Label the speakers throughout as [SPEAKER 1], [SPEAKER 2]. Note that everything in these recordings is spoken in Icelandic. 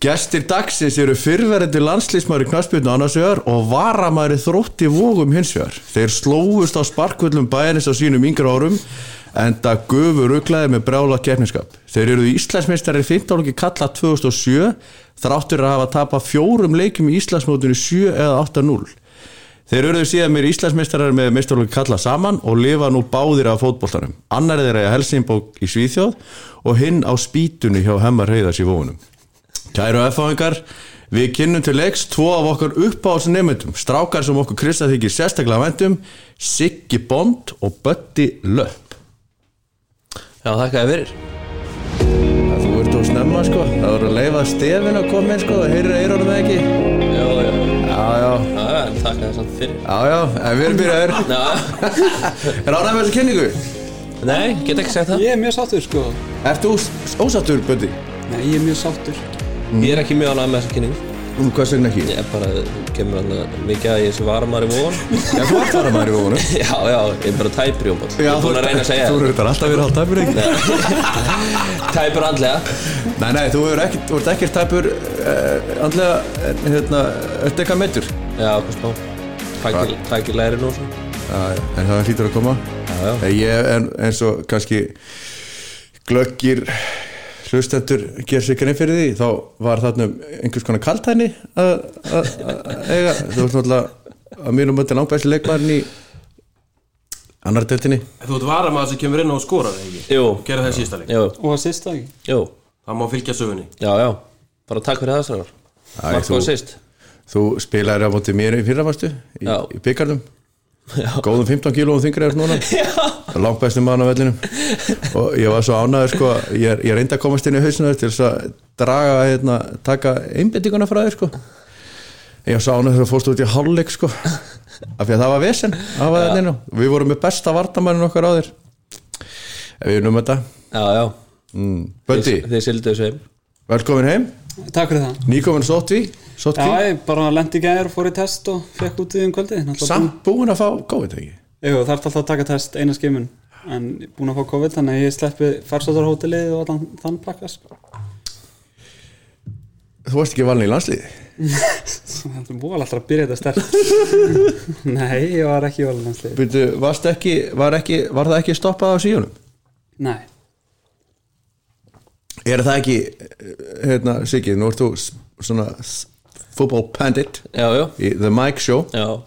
[SPEAKER 1] Gestir dagsins eru fyrverandi landslýsmæri knastbyrnu annarsvegar og varamæri þrótti vógum hinsvegar. Þeir slóðust á sparkvöllum bæjarins á sínum yngra árum en það gufur auglaði með brála keppniskap. Þeir eru Íslandsmeistari 15. kalla 2007 þráttur að hafa tapað fjórum leikum í Íslandsmótinu 7 eða 8-0. Þeir eruðu síðan meir Íslandsmeistarar með meistarlöku kalla saman og lifa nú báðir af fótboltanum. Annar er þeirra í Helsingborg í Svíþjóð og hinn á spýtunni hjá Hemmar Heiðars í Vóunum. Kæru F-áhengar, við kynnum til leiks tvo af okkar uppáhalsnefndum, strákar sem okkur Krista þykir sérstaklega vendum, Siggi Bond og Bötti Löpp.
[SPEAKER 2] Já, þakka þér fyrir
[SPEAKER 1] Það þú ert á snemma sko, það voru að leifa stefin að koma inn sko, það heyrir eyrunum eða ekki.
[SPEAKER 2] Já, já,
[SPEAKER 1] Já, já,
[SPEAKER 2] já, en þakka þér samt fyrir
[SPEAKER 1] já, já, en við erum byrjaðir.
[SPEAKER 2] Já,
[SPEAKER 1] Er ánægð með þessu kynningu?
[SPEAKER 2] nei, get ekki sagt það
[SPEAKER 3] Ég er mjög sáttur sko
[SPEAKER 1] Ert þú ós- ósáttur, Bötti?
[SPEAKER 3] Nei, ég er mjög sáttur
[SPEAKER 2] Ég er ekki mjög ánægð með þessa kynningu
[SPEAKER 1] Nú, Hvers vegna ekki?
[SPEAKER 2] Ég er bara, kemur hann mikið að ég sé varamar í von
[SPEAKER 1] Já, þú ert þar að maður í vóðunum
[SPEAKER 2] Já, já, ég er bara tæpur í óból Ég er búin að reyna að segja
[SPEAKER 1] Þú
[SPEAKER 2] það.
[SPEAKER 1] eru þetta alltaf verið hálf tæpur ekki
[SPEAKER 2] Tæpur andlega
[SPEAKER 1] Nei, nei, þú ert ekkert, þú ert ekkert tæpur uh, Andlega, eh, hérna, ert eitthvað meittur
[SPEAKER 2] Já, hvað spá Tækil, tækil læri nú svo
[SPEAKER 1] En það hlýtur að koma
[SPEAKER 2] já.
[SPEAKER 1] Eh, Ég, en, eins og kannski glöggir hlustendur ger sig grein fyrir því þá var þarna um einhvers konar kaltæni að að- að eiga þú ert náttúrulega að mínum öllin ábæðsli leikmarin í annar deltinni
[SPEAKER 4] Þú ert varamaður sem kemur inn og skorar eða ekki?
[SPEAKER 2] Jú,
[SPEAKER 4] Gerðu það í síðasta leik?
[SPEAKER 2] jú,
[SPEAKER 3] Og að sista ekki
[SPEAKER 2] jú
[SPEAKER 4] Það má fylgja sögunni.
[SPEAKER 2] Já, já, bara takk fyrir það strákar Marko
[SPEAKER 1] þú-
[SPEAKER 2] að sýst
[SPEAKER 1] Þú spilaði á móti mér í fyrrafastu í,
[SPEAKER 2] Já.
[SPEAKER 1] í byggarnum góðum 15 kílóum þingri er núna langt bestum mann á vellinum og ég var svo ánæður sko ég, er- ég reyndi að komast inn í hausinu til þess að draga hérna, taka einbyttinguna frá þér sko ég var svo ánæður þegar þú fórst út í hálfleik sko af því að það var vesen það var þarna inn á. við vorum með besta vartamannin okkar á þér En við erum um þetta
[SPEAKER 2] Já, já
[SPEAKER 1] mm. Böndi,
[SPEAKER 2] Þið- Þið sildu þessu heim
[SPEAKER 1] velkomin heim
[SPEAKER 3] Takk fyrir það
[SPEAKER 1] nýkomin sóttví, sóttví
[SPEAKER 3] Já, ég bara lendi í gæðar, fór í test og fekk út í því um kvöldi Náttúrulega
[SPEAKER 1] samt búin að fá COVID ekki
[SPEAKER 3] búinn- Jú, það er alltaf að taka test eina skimun En ég er búin að fá COVID þannig að ég sleppi farsóttarhótelið og allan þann pakka sko.
[SPEAKER 1] þú varst ekki valin í landsliði
[SPEAKER 3] Það er búin alltaf að byrja þetta sterkt Nei, ég var ekki í valinansliði
[SPEAKER 1] Byrju, varst ekki, var, ekki, var það ekki stoppað á síðunum?
[SPEAKER 3] Nei,
[SPEAKER 1] Er það ekki, eh, hérna, Siggi, nú ert þú s- svona s- football pandit
[SPEAKER 2] Já, já,
[SPEAKER 1] í The Mike Show.
[SPEAKER 2] já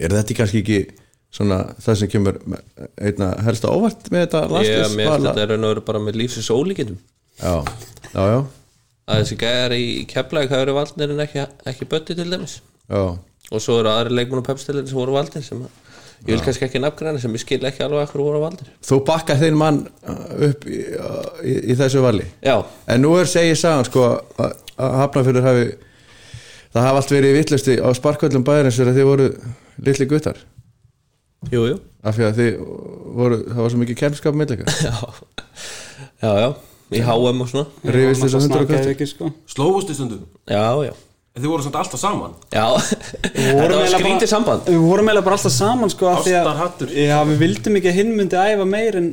[SPEAKER 1] Er þetta kannski ekki svona það sem kemur me- einna helst á óvart með þetta
[SPEAKER 2] Ég, mér finnst
[SPEAKER 1] landsliðsvala?
[SPEAKER 2] þetta er raun og veru bara með lífsins ólíkindum
[SPEAKER 1] Já, já, já,
[SPEAKER 2] að þessi gæjar í keflæk það eru valdnir en ekki, ekki bötti til dæmis
[SPEAKER 1] já.
[SPEAKER 2] og svo eru aðri leikmenn og pepstilir sem voru valdnir sem að, ég vil kannski ekki nafngræna sem ég skil ekki alveg ekkur voru valdnir
[SPEAKER 1] Þú bakkar þinn mann eh, upp í, í, í þessu vali?
[SPEAKER 2] já,
[SPEAKER 1] En nú er segið sagan sko að að Hafnarfjörður hafi það hafi allt verið vitlusti á sparkvöldum bæjarins þegar þið voru litli guttar
[SPEAKER 2] jú, jú
[SPEAKER 1] af því að þið voru, það var svo mikið kemskap með leika,
[SPEAKER 2] já, já, já, í HM og svona
[SPEAKER 1] rifist þess að hundra og kvöldur
[SPEAKER 3] snakkaði ekki sko
[SPEAKER 4] Slófust í stundum.
[SPEAKER 2] já, já,
[SPEAKER 4] En þið voru samt alltaf saman.
[SPEAKER 2] já þetta var
[SPEAKER 3] eiginlega
[SPEAKER 2] skrítið
[SPEAKER 3] bara-
[SPEAKER 2] samband
[SPEAKER 3] Við vorum eiginlega bara alltaf saman sko af því að-
[SPEAKER 4] Ástarhattur.
[SPEAKER 3] Já, við vildum ekki að hinn myndi æfa meir en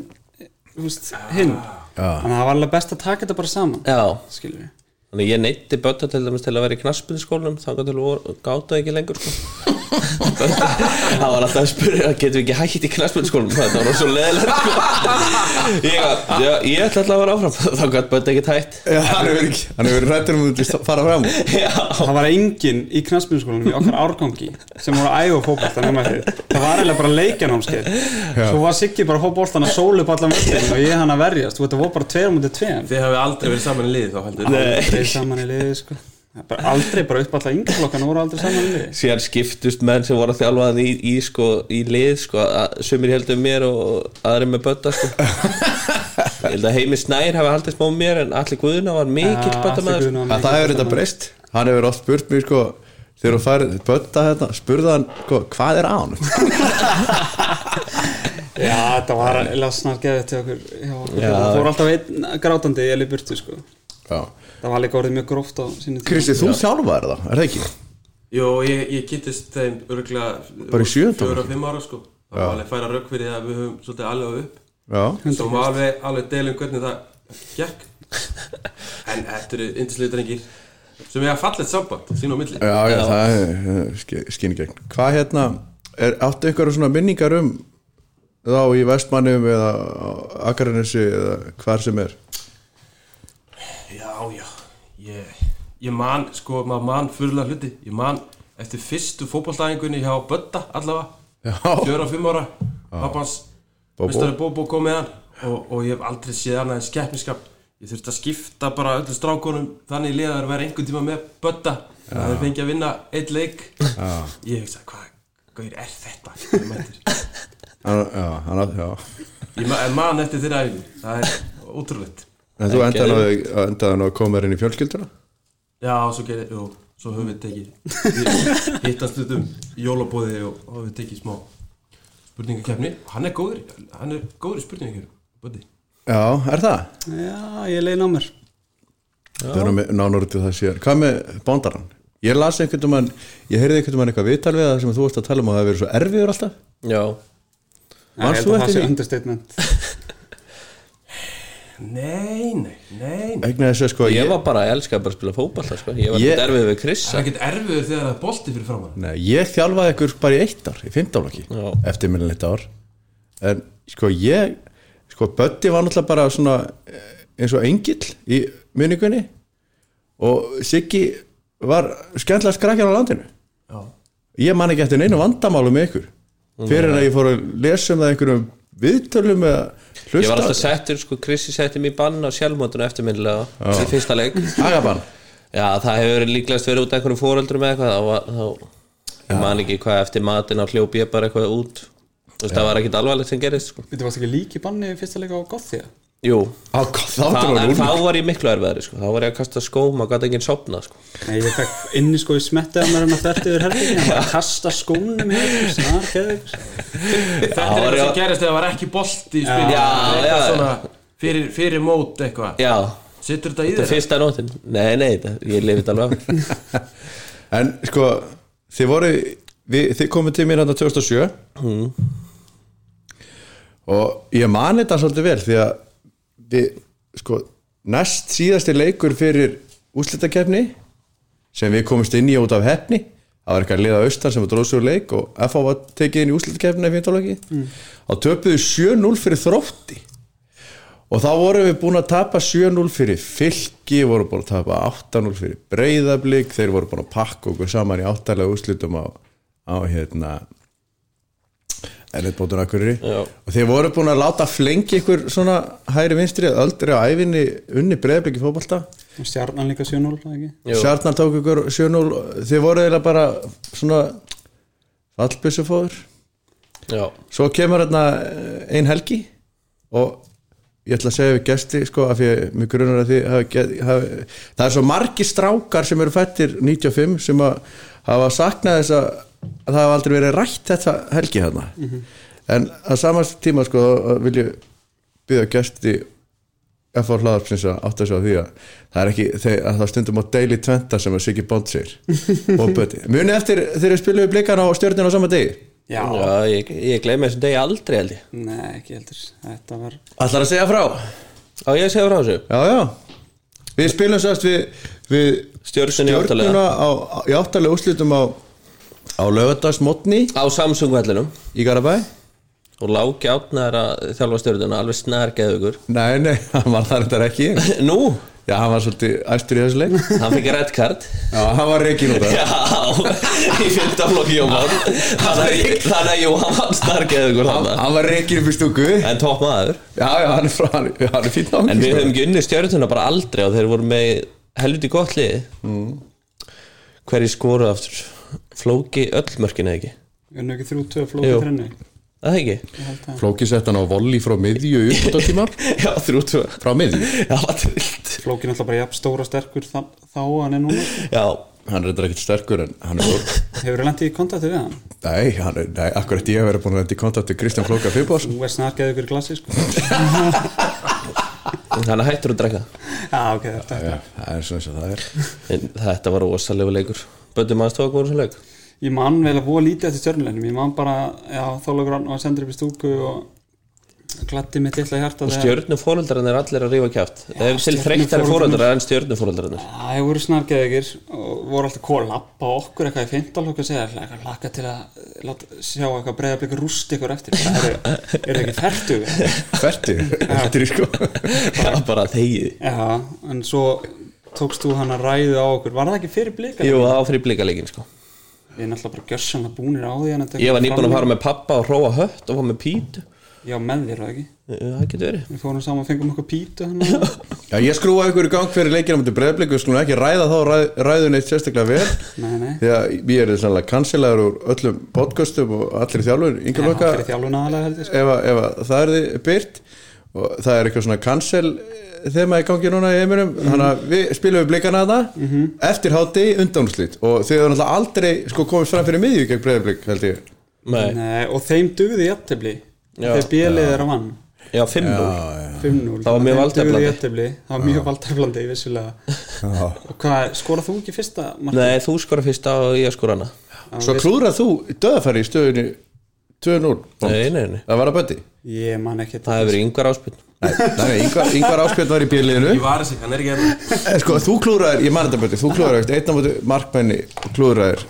[SPEAKER 3] þú veist, hinn Þannig að það var alveg best að taka þetta bara saman
[SPEAKER 2] já,
[SPEAKER 3] Skilur við
[SPEAKER 2] þannig ég neytti bötta til dæmis til að vera í knaspinskólum þá gæti alveg gáta ekki lengur sko. Böddi- það var alltaf að spyrja getum við ekki hægt í knaspinskólum það var svo leðilegt sko. ég, já, ég ætla alltaf að vera áfram þá gæti bötta ekki hægt
[SPEAKER 1] Já, hann hefur verið- hann hefur verið rættur um að þú vilt fara fram
[SPEAKER 2] já,
[SPEAKER 3] Það var enginn í knastbyrnskólanum í okkar árgangi sem voru að æfa fókbalta nema þið Það var eiginlega bara leikjanámskeið Svo var Siggi bara fókbaltan að sóla upp allan völdin og ég hann að verjast, þú veit, það voru bara tveir mútið tveim
[SPEAKER 4] Þið hefði aldrei verið saman í liði þá heldur. Nei.
[SPEAKER 3] Aldrei saman í liði sko bara, Aldrei bara upp alltaf yngjaflokkan voru aldrei saman í liði
[SPEAKER 2] síðan skiptust menn sem voru að þjálfa hann í, í, sko, í lið sko, að- sumir heldur mér og aðri með bötta sko. ég held að Heimi Snær hafi haldið smá um mér en allir guðuna var mikill bötta maður sko.
[SPEAKER 1] að það hefur þetta breyst hann hefur oft spurt mér sko þegar þú færið bönda þetta, spurði hann sko, hvað er án?
[SPEAKER 3] Já, þetta var eiginlega snargeðið til okkur Já,
[SPEAKER 2] Já.
[SPEAKER 3] Það fór alltaf einn grátandi í burtu sko
[SPEAKER 1] Já.
[SPEAKER 3] Það var líka orðið mjög gróft á sinni tíma
[SPEAKER 1] Kristi, þú þjálfaðir það, er það ekki?
[SPEAKER 4] Jó, ég, ég kynntist þeim örgulega...
[SPEAKER 1] Bara í sjöunda
[SPEAKER 4] Fjóra
[SPEAKER 1] bekk?
[SPEAKER 4] og fimm ára sko. Það var alveg að færa rauk fyrir það að við höfum svolítið alveg upp.
[SPEAKER 1] Já,
[SPEAKER 4] Svo var um alveg, alveg deilum hvernig það gekk. En þetta eru indislið drengir.
[SPEAKER 5] sem eiga fallegt samband sín á milli
[SPEAKER 1] Já, já, það er skinni gegn Hvað hérna, er, áttu ykkur svona minningar um þá í Vestmannum eða á Akarnesi eða hvar sem er
[SPEAKER 5] já, já ég, ég man, sko, maður man fyrirlega hluti ég man eftir fyrstu fótballstæðingunni hjá Bötta allavega
[SPEAKER 1] Já,
[SPEAKER 5] fjöra og fimm ára pappans,
[SPEAKER 1] Bóbó.
[SPEAKER 5] mistari Bóbó kom með hann og, og ég hef aldrei séð hann aðeins keppniskap ég þurfti að skipta bara öllu strákunum þannig í liðar að vera einhvern tíma með Bötta það er fengið að vinna eitt leik ég hugsa, hvað hvað er þetta sem ég mætir
[SPEAKER 1] hann, já, hann átt, já
[SPEAKER 5] Ég ma- en man eftir þeirra æfingu Það er ótrúlegt
[SPEAKER 1] En þú endaði nú- endaði nú að koma þér inn í fjölskylduna
[SPEAKER 5] Já, svo gerir, jú, svo höfum við tekið við Hittast út um jólabóði og þá höfum við tekið smá spurningakefni Hann er góður, hann er góður í spurningakefni Böddi
[SPEAKER 1] Já, er það?
[SPEAKER 3] Já, ég leina á mér
[SPEAKER 1] Það er nú með- nánar út í það sér Hvað með bóndarann? Ég las einhvern veginn, ég heyrði einhvern veginn eitthvað viðtal við það sem þú varst að tala um að það hefur verið svo erfiður alltaf
[SPEAKER 2] Já,
[SPEAKER 1] Manst
[SPEAKER 3] Ég
[SPEAKER 1] þú
[SPEAKER 3] held að það
[SPEAKER 1] eftir
[SPEAKER 3] sé
[SPEAKER 1] því?
[SPEAKER 3] understatement
[SPEAKER 5] Nei, nei, nei nei.
[SPEAKER 1] Egnar þessu sko
[SPEAKER 2] ég var bara, ég elskaði bara að spila fótball sko. Ég var
[SPEAKER 1] Ég-
[SPEAKER 2] ég... derfið við
[SPEAKER 5] Það er
[SPEAKER 2] Krissa
[SPEAKER 5] ekkert erfiður þegar það er bolti fyrir framann
[SPEAKER 1] Nei, ég þjálfaði ykkur bara í eitt ár, í fimmtálokki
[SPEAKER 2] Já.
[SPEAKER 1] eftir minna eitt ár en sko ég sko Böddi var náttúrulega bara svona eh, eins og engill í minningunni og Siggi var skemmtilega skrakjar á landinu
[SPEAKER 5] Já,
[SPEAKER 1] ég man ekki eftir neinu vandamálu með ykkur fyrir en að ég fór að lesa um það einhverjum viðtölum eða hlusta
[SPEAKER 2] Ég var alltaf settur, sko, Krissi setti mig í bann á sjálfmótuna eftirminnilega í fyrsta leik
[SPEAKER 1] Agabann
[SPEAKER 2] Já, það hefur líklegast verið út af einhverjum fóreldrum eða eitthvað, þá, var- þá ég man ekki hvað eftir matinn á hljópi ég bara eitthvað út Þú veist, það var ekkit alvarlegt sem gerist, sko
[SPEAKER 3] Þú varst ekki líki banni í fyrsta leika á Gothia
[SPEAKER 2] Jú,
[SPEAKER 1] Á, hvað, þá
[SPEAKER 2] Þa,
[SPEAKER 1] dró hann
[SPEAKER 2] en
[SPEAKER 1] úr
[SPEAKER 2] þá var ég miklu erfiðari, sko Þá var ég að kasta skóm og gæti enginn sopna, sko
[SPEAKER 3] Nei, ég fekk inni sko í smetti að maður hann að þerti yfir herbyggin hann var að kasta skónum hér snar,
[SPEAKER 5] Þetta er
[SPEAKER 2] var
[SPEAKER 5] eitthvað
[SPEAKER 2] ég-
[SPEAKER 5] sem gerist þegar það var ekki bolti í spilinu
[SPEAKER 2] Já, já.
[SPEAKER 5] svona fyrir, fyrir mót eitthvað
[SPEAKER 2] Já,
[SPEAKER 5] Sittur þetta í
[SPEAKER 2] þetta er
[SPEAKER 5] þeirra?
[SPEAKER 2] fyrsta nóttin Nei, nei, þetta, ég lifið þetta alveg af.
[SPEAKER 1] En sko, þið voru við, þið komið til hérna mér hann 2007 og ég man þetta svolítið vel því að við, sko, næst síðasti leikur fyrir úslitakefni sem við komumst inn í út af hefni það var eitthvað liða austan sem var dróðsugur leik og FH var tekið inn í úslitakefni í fintálegi mm. og töpuðu 7-0 fyrir þrótti og þá vorum við búin að tapa 7-0 fyrir fylki, vorum búin að tapa 8-0 fyrir breyðablík, þeir voru búin að pakka okkur saman í áttalega úrslitum á, á hérna erlitbótun akkurri
[SPEAKER 2] Já.
[SPEAKER 1] og þeir voru búin að láta flengi ykkur svona hægri vinstri að öldri á ævinni unni breyðablík í fótbolta
[SPEAKER 3] og stjarnan líka 7-0 það ekki?
[SPEAKER 2] Jú.
[SPEAKER 1] Sjarnar tók ykkur 7-0 þeir voru eiginlega bara svona fallbissufóður
[SPEAKER 2] Já,
[SPEAKER 1] svo kemur hérna ein helgi og ég ætla að segja við gesti sko af því að mjög grunar að því hafi, get- hafi, það er svo margi strákar sem eru fættir 95 sem að hafa saknað þess að að það hafa aldrei verið rætt þetta helgi hérna en að samast tíma sko þá vil ég byggja gesti F.A. Hlaðarsins að átta sig á því að það er ekki, þeir, að það stundum á Daily Tventa sem að Siggi Bond segir og Böti, muni eftir þegar spiluðu blikan á stjörnina á sama degi
[SPEAKER 3] Já,
[SPEAKER 2] já ég, ég gleymi þessum degi aldrei, held ég
[SPEAKER 3] nei ekki heldur þetta var
[SPEAKER 1] Ætlar að segja frá?
[SPEAKER 2] Á, ég segja frá þessu
[SPEAKER 1] Já, já Við spilum sérst við, við
[SPEAKER 2] Stjörnuna í áttalega.
[SPEAKER 1] á, á, í áttalega úrslitum á, á lögadagsmotni
[SPEAKER 2] Á Samsung-vellinum
[SPEAKER 1] í Garabæ
[SPEAKER 2] og lági átnaðar að þjálfa stjórnuna alveg snargeðugur
[SPEAKER 1] Nei, nei, hann var það reyndar ekki
[SPEAKER 2] Nú,
[SPEAKER 1] Já, hann var svolítið æstur í þessu leik
[SPEAKER 2] hann fikk red card
[SPEAKER 1] Já, hann var reikin út af
[SPEAKER 2] Já, í fyrta flokki á mál Þannig þannig að jú, hann var stargeðugur hann
[SPEAKER 1] Hann var reikin upp í stúku Já,
[SPEAKER 2] En topp maður
[SPEAKER 1] já, hann er, frá, hann, er- hann er fín á
[SPEAKER 2] En sko- við höfum ekki unni stjörnuna bara aldrei og þeir voru með helviti gott liði mm. Hverji skoru aftur Flóki öll mörkin eða ekki
[SPEAKER 3] unnu ekki 3-2
[SPEAKER 2] Jú.
[SPEAKER 3] flókið þrennu
[SPEAKER 2] Það ekki?
[SPEAKER 1] Flóki sett hann á volley frá miðju upp á tímar
[SPEAKER 2] Já, þrjú tvö
[SPEAKER 1] Frá miðju
[SPEAKER 2] Já, það er vilt
[SPEAKER 3] flókið náttúrulega bara jafn stóra sterkur þá, þá að hann er núna
[SPEAKER 2] Já,
[SPEAKER 1] Hann er reyndar ekkert sterkur en hann er
[SPEAKER 3] hefur hann lendið í kontakti við hann
[SPEAKER 1] Nei, hann er, nei, akkurat ég hef verið búin að enda í kontakt við Kristján Flóka Fibos
[SPEAKER 3] þú er snargeð ykkur glassi sko
[SPEAKER 2] hann er hættur að drekka
[SPEAKER 3] já ok þetta
[SPEAKER 1] Já, það er svona eins og það er
[SPEAKER 2] en Þetta var rosalegu leikur Böndum aðeins tók voru sem leik
[SPEAKER 3] ég man vel að búa lítið eftir stjörnulegnum ég man bara já þá lögur hann og sendur upp í stúku og glatti mitt litla hjarta
[SPEAKER 2] og
[SPEAKER 3] þegar-
[SPEAKER 2] stjörnufóreldarinn er allir að rífa kjátt það er til þreyttari fóreldarar en stjörnufóreldarinn
[SPEAKER 3] Það voru snargeðegir og voru alltaf kóla lappa á okkur eitthvað í fintalokk og segja eitthvað laka til að láta, sjá eitthvað breyða blik rúst ykkur eftir Það eru er ekki fertu
[SPEAKER 1] Fertu, þetta er sko
[SPEAKER 2] það var bara þegið
[SPEAKER 3] Já, en svo tókst þú hann að ræðu á okkur Var það ekki fyrir blika?
[SPEAKER 2] Jú, það var fyrir blikaleikin sko
[SPEAKER 3] Við erum alltaf bara gjössan að búnir á því en þetta-
[SPEAKER 2] Ég var nýbúin að fara með pappa og hróa hött og var með pít Eh,
[SPEAKER 3] Já, með þér var það ekki
[SPEAKER 2] Það getur verið
[SPEAKER 3] Við fórum saman og fengum okkur pítu hann
[SPEAKER 1] Já, ég skrúa ykkur í gang fyrir leikina mútið breyðblik, við skulum ekki ræða þá ræð, ræðun eitt sérstaklega vel
[SPEAKER 3] Nei, nei
[SPEAKER 1] því að ég er sannlega kansilegar úr öllum podcastum og allir þjálfur yngur
[SPEAKER 3] Það
[SPEAKER 1] loka,
[SPEAKER 3] fyrir þjálfuna aðlega heldur sko.
[SPEAKER 1] ef, að- ef að það er þið byrt og það er eitthvað svona kansel þema í gangi núna í heiminum þannig að við spilum við blikana þetta eftir hátti undanúslít og þið eru náttúrulega aldrei sko komist fram fyrir miðju gegn breyðblik held ég
[SPEAKER 2] Nei,
[SPEAKER 3] Nei, og þeim dugði jættibli
[SPEAKER 2] Já.
[SPEAKER 3] Þegar bjelið er að vann
[SPEAKER 2] já, 5-0
[SPEAKER 3] 5-0
[SPEAKER 2] Það var mjög
[SPEAKER 3] Þeim dugði
[SPEAKER 2] valdeflandi.
[SPEAKER 3] jafntefli. Það var mjög valdeflandi, vissulega Og hvað, skorað þú ekki fyrsta markið?
[SPEAKER 2] Nei, þú skora fyrsta og ég skora hana
[SPEAKER 1] Svo klúðrað þú döðafæri í stöðunni 2-0 bónd.
[SPEAKER 2] Nei, nei, nei
[SPEAKER 1] Það var að bötti
[SPEAKER 3] Ég man ekki
[SPEAKER 2] Það hefur verið yngvar áspinn
[SPEAKER 1] Nei, yngvar, yngvar áspjöld var í bíliðinu
[SPEAKER 4] Ég var þessi, hann er ekki hérna
[SPEAKER 1] En sko, þú klúðraðir, ég man þetta bötti Þú klúðraðir, eftir einn á móti markmenni klúðraðir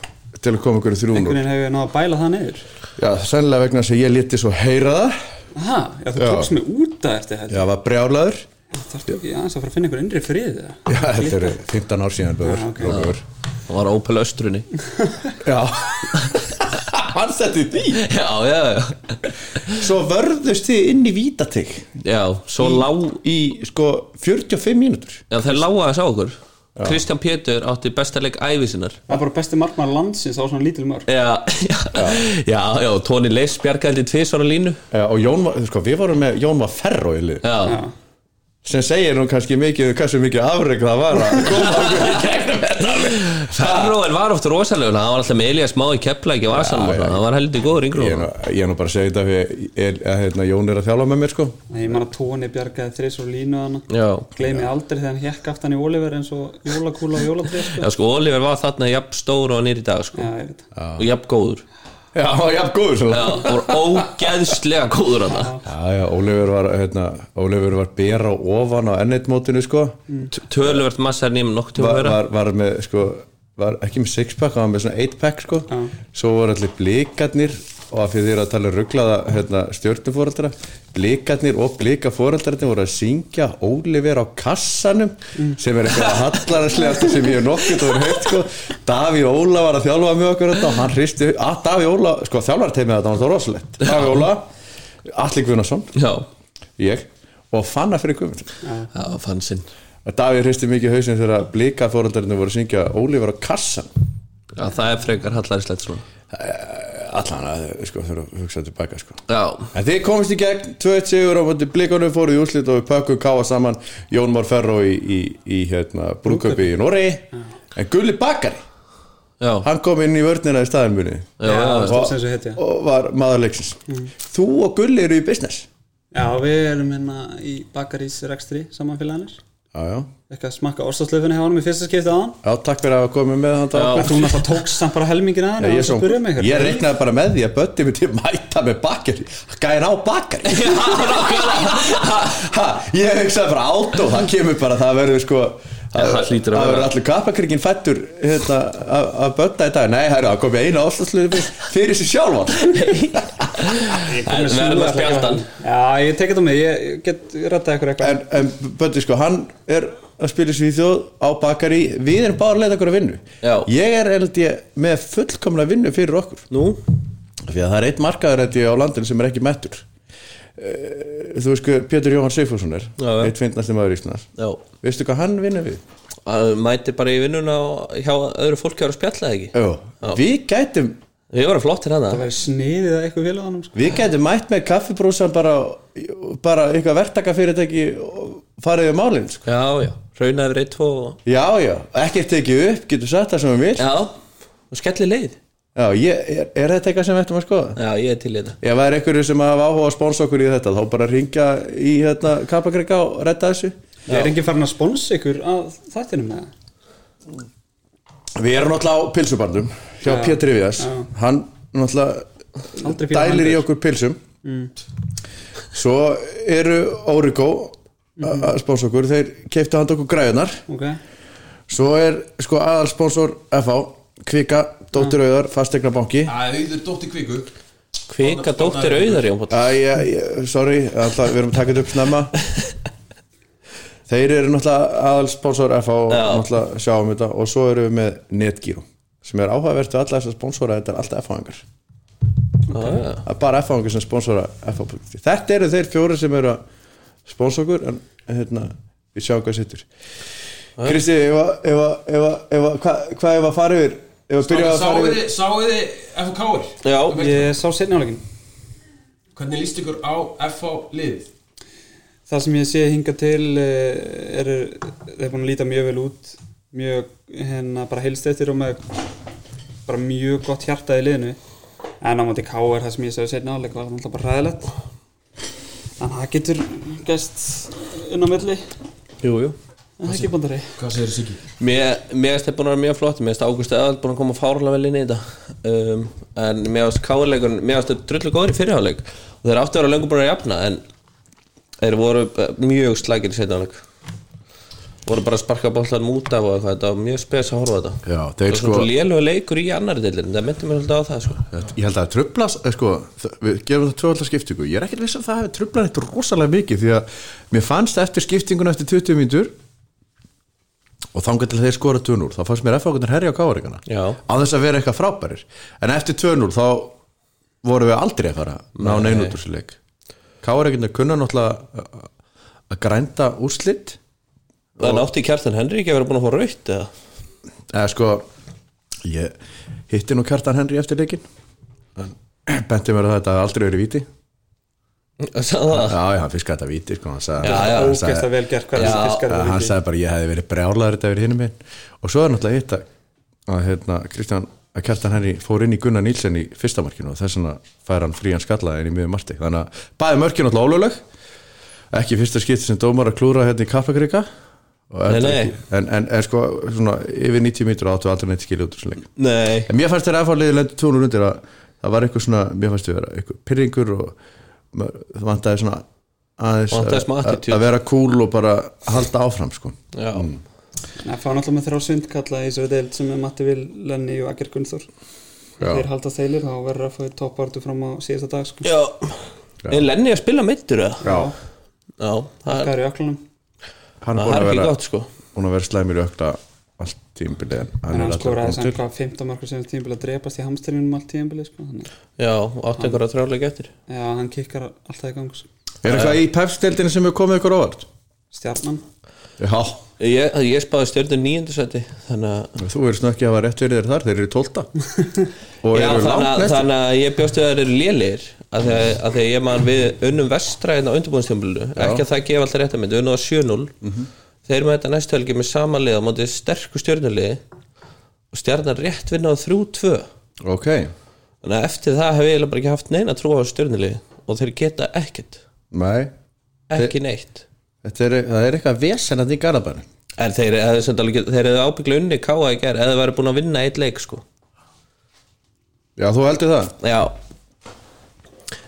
[SPEAKER 1] til að koma ykkur í 3-0
[SPEAKER 3] Einhvern veginn hefur ég náða að bæla það niður
[SPEAKER 1] Já, sennilega vegna þess að ég liti svo heyra það
[SPEAKER 3] Aha, já, þú
[SPEAKER 1] Já.
[SPEAKER 3] tókst mig út að eftir
[SPEAKER 1] Já, var brjálaður
[SPEAKER 3] þetta Þarf þú ekki aðeins að fara að finna einhver innri frið eða?
[SPEAKER 1] Já, þetta eru 15 ár síðan böður,
[SPEAKER 3] ok.
[SPEAKER 1] Róbjör
[SPEAKER 2] Það var Opel Östrunni
[SPEAKER 1] Já,
[SPEAKER 2] Hann setti því? Já, já, já
[SPEAKER 1] svo vörðust þið inn í vítatig
[SPEAKER 2] Já, svo lá
[SPEAKER 1] Í, sko, 45 mínútur
[SPEAKER 2] Já, þeir lága þess á okkur Kristján Pétur átti besta leik ævi sinnar
[SPEAKER 3] Það er bara besti markmann landsins á svona lítil mörg
[SPEAKER 2] Já, já, já, já Tóni Leifs bjargaði tvisvara línu
[SPEAKER 1] Já, og Jón var, sko, við vorum með Jón var ferro í lið
[SPEAKER 2] Já, já.
[SPEAKER 1] sem segir nú kannski mikið, hversu mikið afreg það var að koma
[SPEAKER 2] Ferróin var oft rosalegur hann var alltaf með Elias Má í Keflæk í Vasan
[SPEAKER 1] Já, já.
[SPEAKER 2] hann var heldur góður yngur
[SPEAKER 1] Ég er, nú, ég er nú bara að segja þetta fyrir ég- að hérna, Jón er að þjálfa með mér sko
[SPEAKER 3] Nei, ég man að Tóni bjargaði þris og línu hana
[SPEAKER 2] já.
[SPEAKER 3] Gleimi aldrei þegar hann hekk aftan í Oliver eins og jólakúla og jólatrið sko.
[SPEAKER 2] já, sko, Oliver var þarna jafn stór og hann er í dag sko.
[SPEAKER 3] Já, ég veit það.
[SPEAKER 2] og jafn góður
[SPEAKER 1] Já, já, góður svo
[SPEAKER 2] já, og var ógeðslega góður hann
[SPEAKER 1] Já, já, Ólefur var, hérna, Ólefur var bera ofan á N1 mótinu sko
[SPEAKER 2] tölvert massar nýjum nokk til að
[SPEAKER 1] var,
[SPEAKER 2] vera
[SPEAKER 1] var, var með sko var ekki með sixpack, hann var með svona eightpack sko svo voru allir blikarnir og að fyrir því að tala um rugglaða hérna, stjórnufóraldara, blikarnir og blikaforaldararnir voru að syngja Oliver á kassanum sem er eitthvað hallaraslegast sem ég hef nokkið og heitt sko, Daví Óla var að þjálfa með okkur þetta og hann hristi að Daví Óla, sko þjálfarteimið þetta, hann var þá rosalegt Daví Óla, Atli Guðnason
[SPEAKER 2] já,
[SPEAKER 1] ég og Fanna fyrir Guðmundsson
[SPEAKER 2] já, fann sinn
[SPEAKER 1] að Davíð hristi mikið hausin þegar að blika fóröldarinn voru að syngja Ólífur á kassan
[SPEAKER 2] já, það er frekar hallaríslegt svona
[SPEAKER 1] allan að sko, þurfa að hugsa tilbaka sko.
[SPEAKER 2] já,
[SPEAKER 1] en þið komist í gegn, 2-1 sigur á móti blikunum fóruð í úslit og við pökkum káa saman Jón Már Ferro í, í, í hérna, brúköpi í Noregi en Gulli Bakari,
[SPEAKER 2] já,
[SPEAKER 1] hann kom inn í vörnina í staðin muni
[SPEAKER 2] já, já.
[SPEAKER 3] það sem svo hetja.
[SPEAKER 1] og Mm. var maður leiksins þú og Gulli eru í business
[SPEAKER 3] Já, við erum hérna í bakarís rekstri samanfélagarnir
[SPEAKER 1] já, já.
[SPEAKER 3] Eitthvað að smakka orstafslöfunni hjá honum í fyrsta skipti aðan
[SPEAKER 1] já, takk fyrir að hafa komið með hann Davíð.
[SPEAKER 3] En þú náttúrulega tókst samt bara helmingin aðeins
[SPEAKER 1] Ég,
[SPEAKER 3] og
[SPEAKER 1] svo,
[SPEAKER 3] svo byrjuðum við
[SPEAKER 1] ég reiknaði bara með því að Bötti myndi mæta með bakari Gæði ná bakari ha, ha, Ég hugsaði bara átó Það kemur bara, það verður sko
[SPEAKER 2] Já, það
[SPEAKER 1] það
[SPEAKER 2] hlýtur að vera.
[SPEAKER 1] verður allir kappakrikinn fættur hérna, að að Bötta í dag Nei, það er að komið eina áslagsluði fyrir sér sjálfan
[SPEAKER 2] En við erum að spjalta hann
[SPEAKER 3] Já, ég tekið það með, ég ég get rættað ykkur eitthvað
[SPEAKER 1] en, en Bötti sko, hann er að spila sér í þjóð á bakari Við erum bara að leita okkur að vinnu
[SPEAKER 2] Já.
[SPEAKER 1] Ég er held ég með fullkomna vinnu fyrir okkur
[SPEAKER 2] nú,
[SPEAKER 1] Því að það er eitt markaður held ég á landinu sem er ekki mettur Eh, Þú veist sko, Pétur Jóhann Sigfússon er
[SPEAKER 2] Já, já.
[SPEAKER 1] Eitt finnast maður í Íslands
[SPEAKER 2] já
[SPEAKER 1] Veistu hvað hann vinnur við?
[SPEAKER 2] Að mæti bara í vinnuna og hjá öðru fólki var að spjalla það ekki
[SPEAKER 1] Jó, við gætum
[SPEAKER 2] við vorum flottir hann
[SPEAKER 3] Það væri sniðið að eitthvað félaganum sko.
[SPEAKER 1] Við gætum mætt með kaffibrúsan bara, bara eitthvað verktakafyrirtæki og farið um málin sko.
[SPEAKER 2] já, já, raunaði við reitt og
[SPEAKER 1] Já, já, ekkert tekið upp, getur sagt það sem við vil
[SPEAKER 2] já, og skellir leið
[SPEAKER 1] Já, ég, er, er þetta eitthvað sem við ættum að skoða?
[SPEAKER 2] já, ég er til í þetta
[SPEAKER 1] Ef það er einhverju sem hafa áhuga að spónsa okkur í þetta þá bara ringja í hérna, kappakrika og redda þessu
[SPEAKER 3] Ég er enginn farin að sponsa ykkur að þættinum með það
[SPEAKER 1] Við erum náttúrulega á pilsubarnum hjá
[SPEAKER 3] Já.
[SPEAKER 1] Pétri Viðars
[SPEAKER 3] Já.
[SPEAKER 1] hann náttúrulega
[SPEAKER 3] Aldrei Mm. fyrir
[SPEAKER 1] dælir í
[SPEAKER 3] hendur.
[SPEAKER 1] okkur pilsum svo eru Origo að spáns okkur, þeir keiptu handa okkur græðunar
[SPEAKER 3] ok
[SPEAKER 1] svo er sko aðalsponsor FH, Kvika, Dóttir Auðar fastegnabanki
[SPEAKER 5] Það er auður dótti kviku
[SPEAKER 2] Kvika dóttir auðar Jón Páll.
[SPEAKER 1] Æ, ég, ég, sorry, alltaf, við erum að taka þetta upp snemma Þeir eru náttúrulega aðalsponsor FH og náttúrulega sjáum þetta og svo erum við með Netgyro sem er áhugavert við alla þessar sponsora þetta er alltaf FH-engar
[SPEAKER 2] Já, já.
[SPEAKER 1] það er bara F-fangur sem sponsora F-fangur þetta eru þeir fjóri sem eru að sponsa okkur en hérna við sjáum hvað sittur Kristi, ef að- ef að- ef að- ef að- hvað hva ef að fara yfir ef að byrja að fara
[SPEAKER 5] Sáuði,
[SPEAKER 1] yfir
[SPEAKER 5] sáuði FK-ur
[SPEAKER 2] Já,
[SPEAKER 3] ég sá setnálegin
[SPEAKER 5] Hvernig líst ykkur á FH liðið?
[SPEAKER 3] það sem ég sé hinga til eh, er, þeir búin að líta mjög vel út mjög, hérna, bara heilstættir og með bara mjög gott hjarta í liðinu en á móti K er það sem ég segi setna áleik var náttúrulega bara ræðilegt þannig að það getur gæst inn á milli en
[SPEAKER 2] jú, jú
[SPEAKER 3] það er ekki bandari
[SPEAKER 5] Hvað segir Siggi?
[SPEAKER 2] Mér mér finnst þetta búin að vera mjög flott Mér finnst Ágústi aðall búin að koma fárlega vel inn í þetta um, En mér finnst káðurleikun Mér finnst þetta drullu góður í fyrirháleik Og þeir áttu að vera löngu búin að jafna En þeir voru eh, mjög slækir í setjáleik Voru bara að sparka boltan út af og eitthvað Þetta var mjög spes að horfa á þetta
[SPEAKER 1] Já, þeir
[SPEAKER 2] Það var
[SPEAKER 1] sko-
[SPEAKER 2] svona léluga leikur í annari deildin Það myndi mér alltaf á það sko
[SPEAKER 1] ég held að það trubla sko, það- við gefum það tvöldar skiptingu ég er ekkert viss að það hefur trublað þetta rosalega mikið því að mér fannst eftir skiptinguna eftir 20 mínútur og þangar til þeir skora 2-0 þá fannst mér F-fangur herja á káaríkana
[SPEAKER 2] Já.
[SPEAKER 1] á þess að vera eitthvað frábærir en eftir 2-0 þá vorum við aldrei að fara ná neinu út úr sér leik káaríkina kunna náttúrulega að- að grænda úrslit
[SPEAKER 2] Það nátti kjartan Henry ekki að vera búin að fá raut eða?
[SPEAKER 1] eða sko ég hitti nú kjartan Henry eftir leikin en benti mér að þetta hafði aldrei verið víti
[SPEAKER 2] Sagði það?
[SPEAKER 1] Já, já, hann fiskaði þetta víti sko, hann sagði,
[SPEAKER 2] Já, já,
[SPEAKER 1] hann
[SPEAKER 3] ógæst að vel gert hvað þessi fiskar
[SPEAKER 1] já,
[SPEAKER 3] það
[SPEAKER 1] hann
[SPEAKER 3] ekki
[SPEAKER 1] sagði bara ég hefði verið brjálaður þetta verið hinum minn og svo er náttúrulega hitt að- að hérna, Kristján, að Kjartan Henry fór inn í Gunnar Nílsen í fyrsta markinu og þess vegna fær hann frían skallaði inn í miðum marti þannig að bæði mörkinu alltaf ólögleg ekki í fyrsta skipti sem dómar að klúra hérna í Kaplakrika
[SPEAKER 2] Nei, nei.
[SPEAKER 1] en, en, en sko, svona yfir 90 mítur áttu aldrei neitt skilja út úr þessu leik
[SPEAKER 2] Nei
[SPEAKER 1] En mér fannst þér aðfárlega lendur tónur undir að það var eitthvað svona, mér fannst þér vera eitthvað pyrringur og maður- það vantaði svona aðeins
[SPEAKER 2] Vantaði smá
[SPEAKER 1] að,
[SPEAKER 2] attitude.
[SPEAKER 1] að vera cool og bara halda áfram sko.
[SPEAKER 2] Já,
[SPEAKER 3] það fá náttúrulega með þrjá svindkalla í þessari deild sem er Matti Vil, Lenny og Akker Gunnþór þeir halda þeilir þá verður að fá toppartu fram á síðasta dag sko.
[SPEAKER 2] já. Er Lenny að spila mittur eða?
[SPEAKER 1] Já,
[SPEAKER 2] Já, það er,
[SPEAKER 3] hvað er í öklunum
[SPEAKER 1] hann er
[SPEAKER 2] það
[SPEAKER 1] búin
[SPEAKER 2] er
[SPEAKER 1] að
[SPEAKER 2] ekki
[SPEAKER 1] vera,
[SPEAKER 2] gott sko
[SPEAKER 1] búin að vera slæmur í ökla allt tímbilið en
[SPEAKER 3] en hann
[SPEAKER 1] alltaf
[SPEAKER 3] skoraði
[SPEAKER 1] kominn
[SPEAKER 3] þess að 15 markur sem tímbili að drepast í hamstrinum allt tímbili sko. þannig að-
[SPEAKER 2] Já, og átti einhverja þrjáleik eftir
[SPEAKER 3] já, hann kikkar alltaf í gang sko.
[SPEAKER 1] Er eitthvað í pepsteldinu sem hefur komið ykkur óvart?
[SPEAKER 3] stjarnan
[SPEAKER 1] Já,
[SPEAKER 2] Ég, ég spáði stjörnum níundu seti Þannig að
[SPEAKER 1] þú verður snökkið að hafa rétt fyrir þér þar, þeir eru tólta og
[SPEAKER 2] Já,
[SPEAKER 1] eru
[SPEAKER 2] þannig
[SPEAKER 1] langt
[SPEAKER 2] að,
[SPEAKER 1] næstu
[SPEAKER 2] þannig að ég bjóst við að þeir eru lélir að því að, að því að ég man við unnum vestra hérna á undirbúinstjömbulinu ekki að það gefa alltaf rétt að myndi, unnum á 7-0 þeir með þetta næstu helgi með sama lið á móti sterku stjörnuliði og stjarnar rétt vinna á 3-2
[SPEAKER 1] Ok,
[SPEAKER 2] þannig að eftir það hef ég eiginlega bara ekki haft neina trú á stjörnuliði og þeir geta ekkert,
[SPEAKER 1] nei
[SPEAKER 2] ekki neitt
[SPEAKER 1] Þetta er, það er eitthvað vesenandi í garabæri
[SPEAKER 2] En þeir hefðu samt alveg get- þeir hefðu ábygglega unni káa í gerð eða væri búin að vinna eitt leik sko
[SPEAKER 1] Já, þú heldur það?
[SPEAKER 2] Já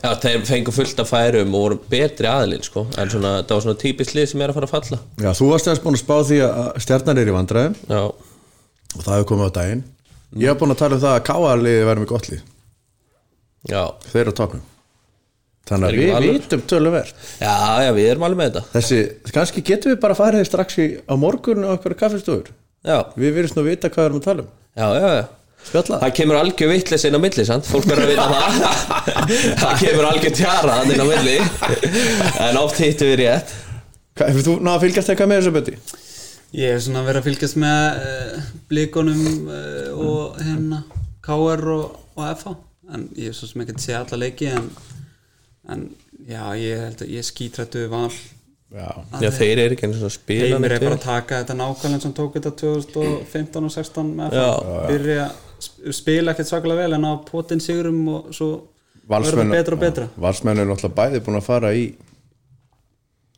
[SPEAKER 2] Já, þeir fengu fullt af færum og voru betri aðilinn sko en svona, það var svona típist lið sem er að fara að falla
[SPEAKER 1] Já, þú varst aðeins búin að spá því að stjarnar er í vandræðum
[SPEAKER 2] Já,
[SPEAKER 1] og það hefur komið á daginn ég hef búin að tala um það að káarliði verðum í gott lið
[SPEAKER 2] já,
[SPEAKER 1] þeir eru á topnum þannig
[SPEAKER 2] Er
[SPEAKER 1] að
[SPEAKER 2] ekki
[SPEAKER 1] við
[SPEAKER 2] Valur?
[SPEAKER 1] vitum töluvert
[SPEAKER 2] já, já, við erum alveg með þetta
[SPEAKER 1] þessi, kannski getum við bara farið strax í, á morgun á okkur kaffestofur
[SPEAKER 2] Já,
[SPEAKER 1] við virðum að vita hvað við erum að tala um
[SPEAKER 2] já, já, já
[SPEAKER 1] spjalla
[SPEAKER 2] Það kemur algjör vitleis inn á milli, sant? Fólk verður að vita það Það kemur algjör tjara þarna inn á milli En oft hittum við rétt
[SPEAKER 1] Hva- hefur þú náða að fylgjast eitthvað með þessu beti?
[SPEAKER 3] ég er svona verið að fylgjast með uh, blíkonum uh, og hérna KR og, og FH en ég er svo sem ekki að segja alla leiki en, en já, ég held að ég skítrættu við val
[SPEAKER 1] já,
[SPEAKER 2] Já, þeir eru ekki einu svona spila
[SPEAKER 3] heimir er bara að taka þetta nákvæmlega sem tók þetta 2015 og 16 með FH
[SPEAKER 2] Já.
[SPEAKER 3] byrja að spila ekkert svakalega vel en á potin sigurum og svo verður
[SPEAKER 1] valsmenn
[SPEAKER 3] það betra og betra
[SPEAKER 1] valsmenn er náttúrulega bæði búin að fara í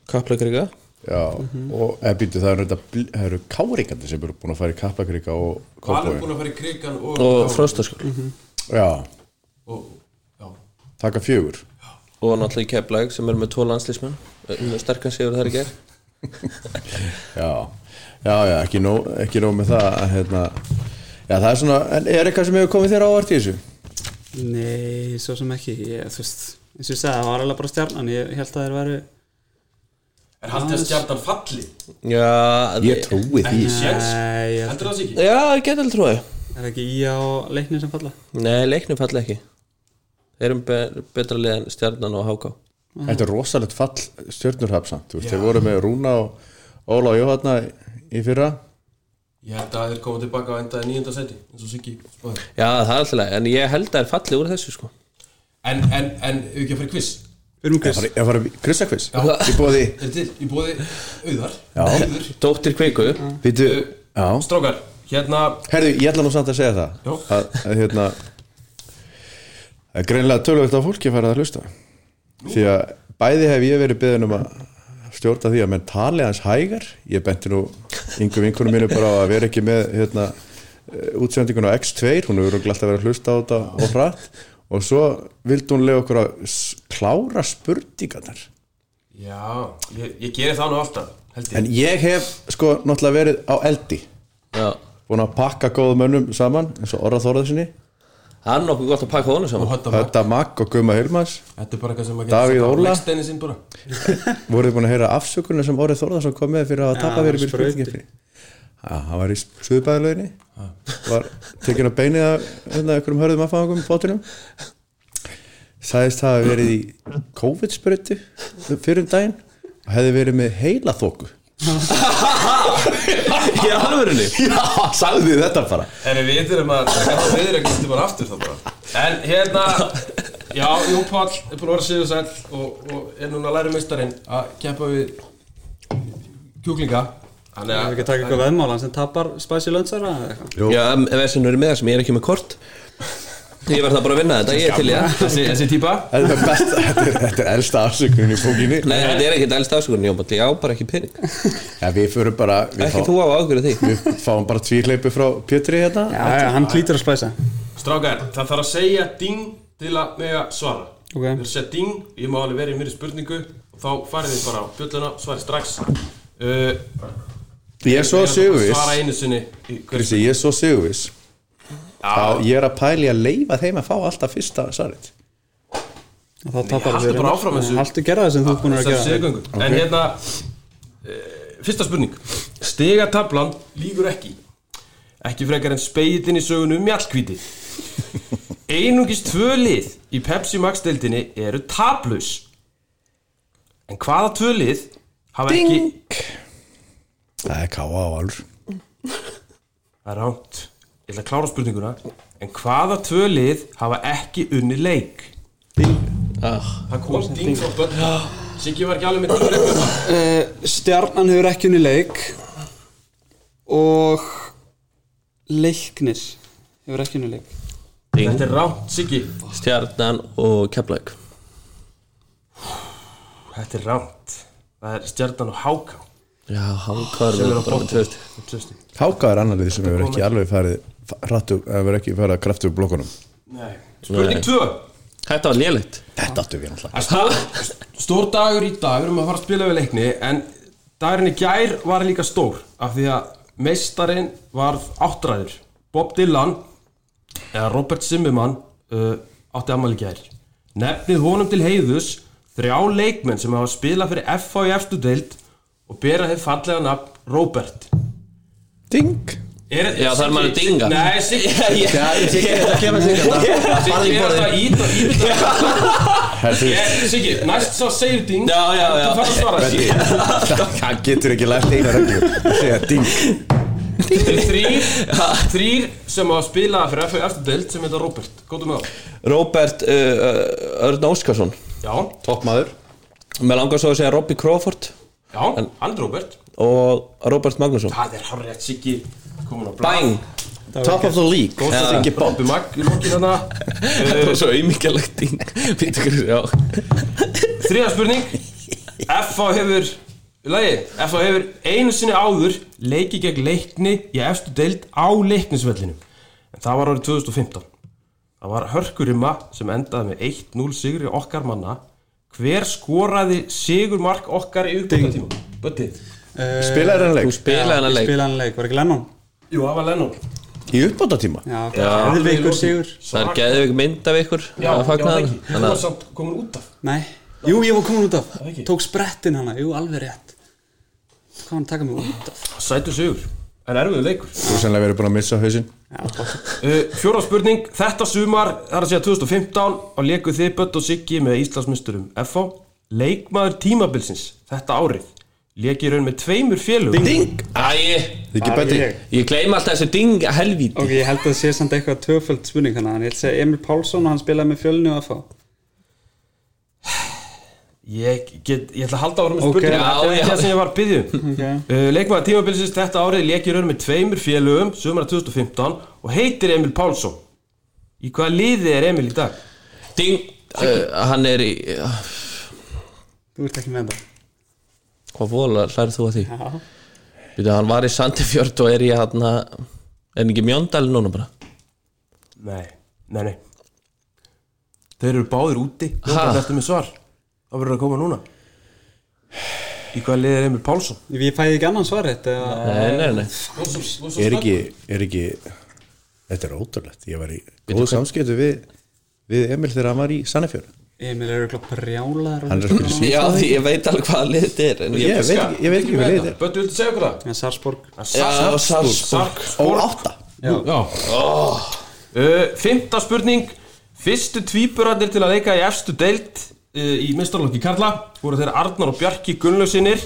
[SPEAKER 2] Kaplakrika
[SPEAKER 1] já,
[SPEAKER 3] Mhm.
[SPEAKER 1] og eða býtu það eru, þetta bl- það eru kárikandi sem eru búin að fara í kaplakrika og
[SPEAKER 5] Valur
[SPEAKER 1] kópói
[SPEAKER 5] búin að fara í krigan og,
[SPEAKER 2] Og frostaskól
[SPEAKER 1] já,
[SPEAKER 5] og, já.
[SPEAKER 1] taka fjögur
[SPEAKER 2] og náttúrulega í Keflæk sem er með tvo landslísmenn sterkar sigur þar í ger
[SPEAKER 1] já, já, já, ekki nóg, ekki nóg með það að, hérna, já, það er svona en er eitthvað sem hefur komið þér á ávart í þessu?
[SPEAKER 3] Nei, svo sem ekki ég, þú veist, eins og ég sagði, það var alveg bara stjarnan ég held að þeir væru
[SPEAKER 5] Er haldið að stjartan falli?
[SPEAKER 2] Já,
[SPEAKER 1] Ég trúi því
[SPEAKER 5] Ekki séns
[SPEAKER 3] Nei, ég held
[SPEAKER 5] Heldur það sig ekki?
[SPEAKER 2] Já, ég geti alveg trúið
[SPEAKER 3] er ekki í á leiknir sem falla
[SPEAKER 2] Nei, leiknum falla ekki Þeir eru be betra lið en stjarnan og háká
[SPEAKER 1] Þetta er rosalegt fall stjörnurhafsamt, þú veist, þeir voru með Rúna og Óla og Jóhanna í fyrra
[SPEAKER 5] Ég held að þeir koma tilbaka og endaði nýjönda seti eins og Siggi spáði
[SPEAKER 2] Já, það er alltaf leið, en ég held að það er fallið úr þessu sko
[SPEAKER 5] En, en, en, hefur ekki að fara í quiz
[SPEAKER 3] Við erum
[SPEAKER 1] Ég
[SPEAKER 3] kvist
[SPEAKER 1] fara- Ég fara Kristjakviss, ég bóði
[SPEAKER 5] Er til, ég bóði auðar
[SPEAKER 1] Já.
[SPEAKER 5] Auður
[SPEAKER 2] Dóttir kveiku
[SPEAKER 1] Býtu, já
[SPEAKER 5] Strákar, hérna
[SPEAKER 1] Herðu, ég ætla nú samt að segja það
[SPEAKER 5] Já.
[SPEAKER 1] að, að hérna að greinlega tölvögt á fólki farið að hlusta því að bæði hef ég verið beðin um að stjórna því að menn tali hans hægar ég benti nú yngum vinkunum mínu bara á að vera ekki með hérna, eh, útsendinguna á X2 hún hefur glætt að vera að hlusta á þetta og hratt og svo vildi hún lega okkur að s- klára spurningarnar
[SPEAKER 5] Já, ég, ég geri það nú alltaf Held ég
[SPEAKER 1] en ég hef sko náttúrulega verið á eldi
[SPEAKER 2] Já,
[SPEAKER 1] búin að pakka góðum mönnum saman eins og Orra Þorðarsinni
[SPEAKER 2] það er nokkuð gott að pakka honum
[SPEAKER 5] Og
[SPEAKER 2] saman
[SPEAKER 5] Hötta Mag-
[SPEAKER 1] Þetta Magg og Guma Hilmas
[SPEAKER 5] Þetta er bara eitthvað sem að
[SPEAKER 1] Davíð Óla.
[SPEAKER 5] Legsteini sinn bara
[SPEAKER 1] voruð þið búin að heyra afsökunum sem Orri Þórðarsson kom með fyrir að hafa tappa fyrir
[SPEAKER 3] hann
[SPEAKER 1] fyrir spurningi hann var í suðbæðilöginni var tekin að beinið af hérna, einhverjum hörðum aðfangum í bótunum sagðist hafa verið í COVID-sprötu fyrir um daginn og hefði verið með heila þóku
[SPEAKER 2] Ég er alvörunni
[SPEAKER 1] Já, sagði þið þetta bara
[SPEAKER 5] En við þurfum að taka það viðir ekki til bara aftur þá bara En hérna Já, Jón Páll er búin að vera síðu sæll og, og er núna að læra mistarinn að keppa við kjúklinga Þannig
[SPEAKER 3] Við erum ekki að taka eitthvað veðmálan sem tapar Spicy Lundsara eða eitthvað
[SPEAKER 2] Já, vesen verið með það sem ég er ekki með kort Ég verð það bara að vinna þetta, ég er til í það
[SPEAKER 5] Þessi, þessi típa
[SPEAKER 1] Þetta er, best, þetta er, þetta er elsta afsökunin í bókinni
[SPEAKER 2] Nei, þetta er ekkert elst afsökun, ég á bara- ég á bara ekki pening
[SPEAKER 1] ja, Við förum bara við,
[SPEAKER 2] Ekki þú á ágjörðu því
[SPEAKER 1] við fáum bara tvíleipi frá Pétri hérna
[SPEAKER 3] Já, já, hann klítur að spæsa
[SPEAKER 5] Strákar, það þarf að segja ding til að mega svara
[SPEAKER 3] Ok.
[SPEAKER 5] Þeir segja ding, ég má alveg vera í mér spurningu og þá farið þið bara á bjölluna, svarið strax uh,
[SPEAKER 1] Ég er svo sigurvis
[SPEAKER 5] Svara einu sinni í hverju
[SPEAKER 1] Kristi, ég er svo sigurvis að ég er að pæli að leifa þeim að fá alltaf fyrsta svarit
[SPEAKER 3] Og þá tapar
[SPEAKER 5] haltu bara áfram þessu.
[SPEAKER 3] Haltu gera það sem þú er búin að
[SPEAKER 5] Þessar
[SPEAKER 3] gera
[SPEAKER 5] sigurgöngur En hérna e, Fyrsta spurning Stegatablan lígur ekki Ekki frekar en spegillin í sögunum mjallkvíti Einungis tvö lið í Pepsi Max deildinni eru tablaus En hvaða tvö lið hafa ekki
[SPEAKER 1] Það er káa á alveg
[SPEAKER 5] Það er rámt Ég ætla að klára spurninguna En hvaða tvö lið hafa ekki unni leik
[SPEAKER 2] ah.
[SPEAKER 5] Það kom ding frá börn Siggi var ekki alveg með ding leik
[SPEAKER 3] Eh, Stjarnan hefur ekki unni leik Og Leiknir Hefur ekki unni leik
[SPEAKER 5] Þetta er rámt Siggi
[SPEAKER 2] Stjarnan og Keflæk
[SPEAKER 5] Þetta er rámt Það er stjarnan og háká
[SPEAKER 2] Já, háká er verið bara með tvöst
[SPEAKER 5] Tjösti.
[SPEAKER 1] Háka er annar lið sem hefur ekki alveg farið rattu, hefur ekki farið að kraftu úr blokkunum
[SPEAKER 5] Nei. Spurning 2
[SPEAKER 2] Þetta var lélegt
[SPEAKER 1] Þetta áttu við alltaf
[SPEAKER 5] Stór dagur í dag, við erum að fara að spila við leikni En dagurinn í gær var líka stór Af því að meistarinn var áttræður Bob Dylan Eða Robert Zimmermann uh, Átti ammali gær Nefnið honum til heiðus Þrjá leikmenn sem hafa spilað fyrir FH í efstu deild Og bera þeir fallega nafn Robert
[SPEAKER 1] Ding
[SPEAKER 5] er,
[SPEAKER 2] Já, það er maður að dinga.
[SPEAKER 5] Nei, Siggi Siggi
[SPEAKER 1] Herðu,
[SPEAKER 5] er alltaf ít og ít Siggi, næst svo segir ding
[SPEAKER 2] Já, já, já.
[SPEAKER 5] Þú þarf að svara Siggi
[SPEAKER 1] Hann getur ekki lært eina reglum Segja ding
[SPEAKER 5] Þetta eru þrýr, þrýr sem á að spila fyrir FF Eftirdeild sem heita Robert Góðum með það
[SPEAKER 2] Róbert uh, uh, Örn Óskarsson
[SPEAKER 5] Já,
[SPEAKER 1] Toppmaður
[SPEAKER 2] Mér langar svo að segja Robbie Crawford
[SPEAKER 5] já, hann er Robert
[SPEAKER 2] og Robert Magnusson
[SPEAKER 5] Það er horrið Siggi komin á blá
[SPEAKER 2] Bang!
[SPEAKER 1] Top of the league Góðst að þingi bótt
[SPEAKER 5] Bobbi Mag í lokin hana
[SPEAKER 2] Þetta var svo auðmyggjalegt ding Býttu ykkur, já
[SPEAKER 5] Þriða spurning FH hefur Lægi, FH hefur einu sinni áður leikið gegn leikni í efstu deild á leiknisvellinum en það var árið 2015 Það var hörkurima sem endaði með 1-0 sigri okkar manna Hver skoraði sigurmark okkar í uppbyrðatíma? Bötti
[SPEAKER 1] Spilaði hann leik
[SPEAKER 2] Þú spilaði hennar leik
[SPEAKER 3] Spilaði hann leik, var ekki Lennon
[SPEAKER 5] Jú, það var Lennon
[SPEAKER 1] í uppbótatíma
[SPEAKER 3] Já, hefði veikur sigur
[SPEAKER 2] Það er geðvig mynd af ykkur
[SPEAKER 5] Já,
[SPEAKER 2] að
[SPEAKER 5] já,
[SPEAKER 2] fagna
[SPEAKER 5] það
[SPEAKER 2] hann
[SPEAKER 5] ekki Þú
[SPEAKER 2] Þannig
[SPEAKER 5] var
[SPEAKER 2] að
[SPEAKER 5] samt komin út af
[SPEAKER 3] Nei, jú, ég var komin út af
[SPEAKER 5] ekki?
[SPEAKER 3] Tók sprettin hana, jú, alveg rétt Hvað hann taka mig út af?
[SPEAKER 5] Sætu sigur En erfiðu leikur
[SPEAKER 1] Þú sennilega verið búin að missa hausinn
[SPEAKER 5] uh, Fjóra spurning, þetta sumar Það er að segja 2015 og lekuð þið Bött og Siggi með Íslandsmyndurum FH Leikmaður tímabilsins Þetta árið Lekið raun með tveimur félug
[SPEAKER 2] Ding! Æ,
[SPEAKER 1] Þið ekki betri
[SPEAKER 3] ég.
[SPEAKER 2] ég gleym alltaf þessu ding helvíti
[SPEAKER 3] Ok, ég held að það sé samt eitthvað töföld spurning hana En ég held að segja Emil Pálsson og hann spilaði með fjölni og að fá
[SPEAKER 5] Ég, get, ég ætla að halda ára með
[SPEAKER 3] Ok.
[SPEAKER 5] spurningu Þetta
[SPEAKER 2] Já,
[SPEAKER 5] er ekki
[SPEAKER 2] já.
[SPEAKER 5] það sem ég var að byggja um
[SPEAKER 3] Ok.
[SPEAKER 5] uh, Leikmaður tímabilsins þetta árið Lekið raun með tveimur félugum Sumar 2015 og heitir Emil Pálsson Í hvaða liði er Emil í dag?
[SPEAKER 2] Ding! Uh, hann er í uh,
[SPEAKER 3] Þú ert ekki með það
[SPEAKER 2] Hvað vola hlærið þú að því?
[SPEAKER 3] Já,
[SPEAKER 2] Býtu, hann var í Sandefjörd og er í hann Er hann ekki Mjóndal núna bara?
[SPEAKER 5] Nei, nei, nei Þeir eru báðir úti
[SPEAKER 2] Ha?
[SPEAKER 5] Jóhann, Þetta er með svar Það verður að koma núna Í hvaða liði er Emil Pálsson?
[SPEAKER 3] Ef ég fæði ekki annan svar rétt eða
[SPEAKER 2] Nei, nei, nei
[SPEAKER 1] er ekki, er ekki Þetta er ótrúlegt Ég var í góðu samskiptu við, við Emil þegar hann var í Sannefjörn
[SPEAKER 3] Emil er eitthvað brjálaður
[SPEAKER 1] Hann er að spila síðan
[SPEAKER 2] Já, því ég veit alveg hvaða lið þetta er en ég,
[SPEAKER 1] Ég veit ekki, ég veit ekki hvað leiðið er
[SPEAKER 5] Böttu, viltu segja okkur það?
[SPEAKER 3] En Sarsborg
[SPEAKER 2] Já, Salzburg
[SPEAKER 1] Ó, átta
[SPEAKER 5] Já Uh, Fymta spurning Fyrstu tvíburarnir til að leika í efstu deild uh, Í mistarlokki Karla voru þeir Arnar og Bjarki Gunnlausinir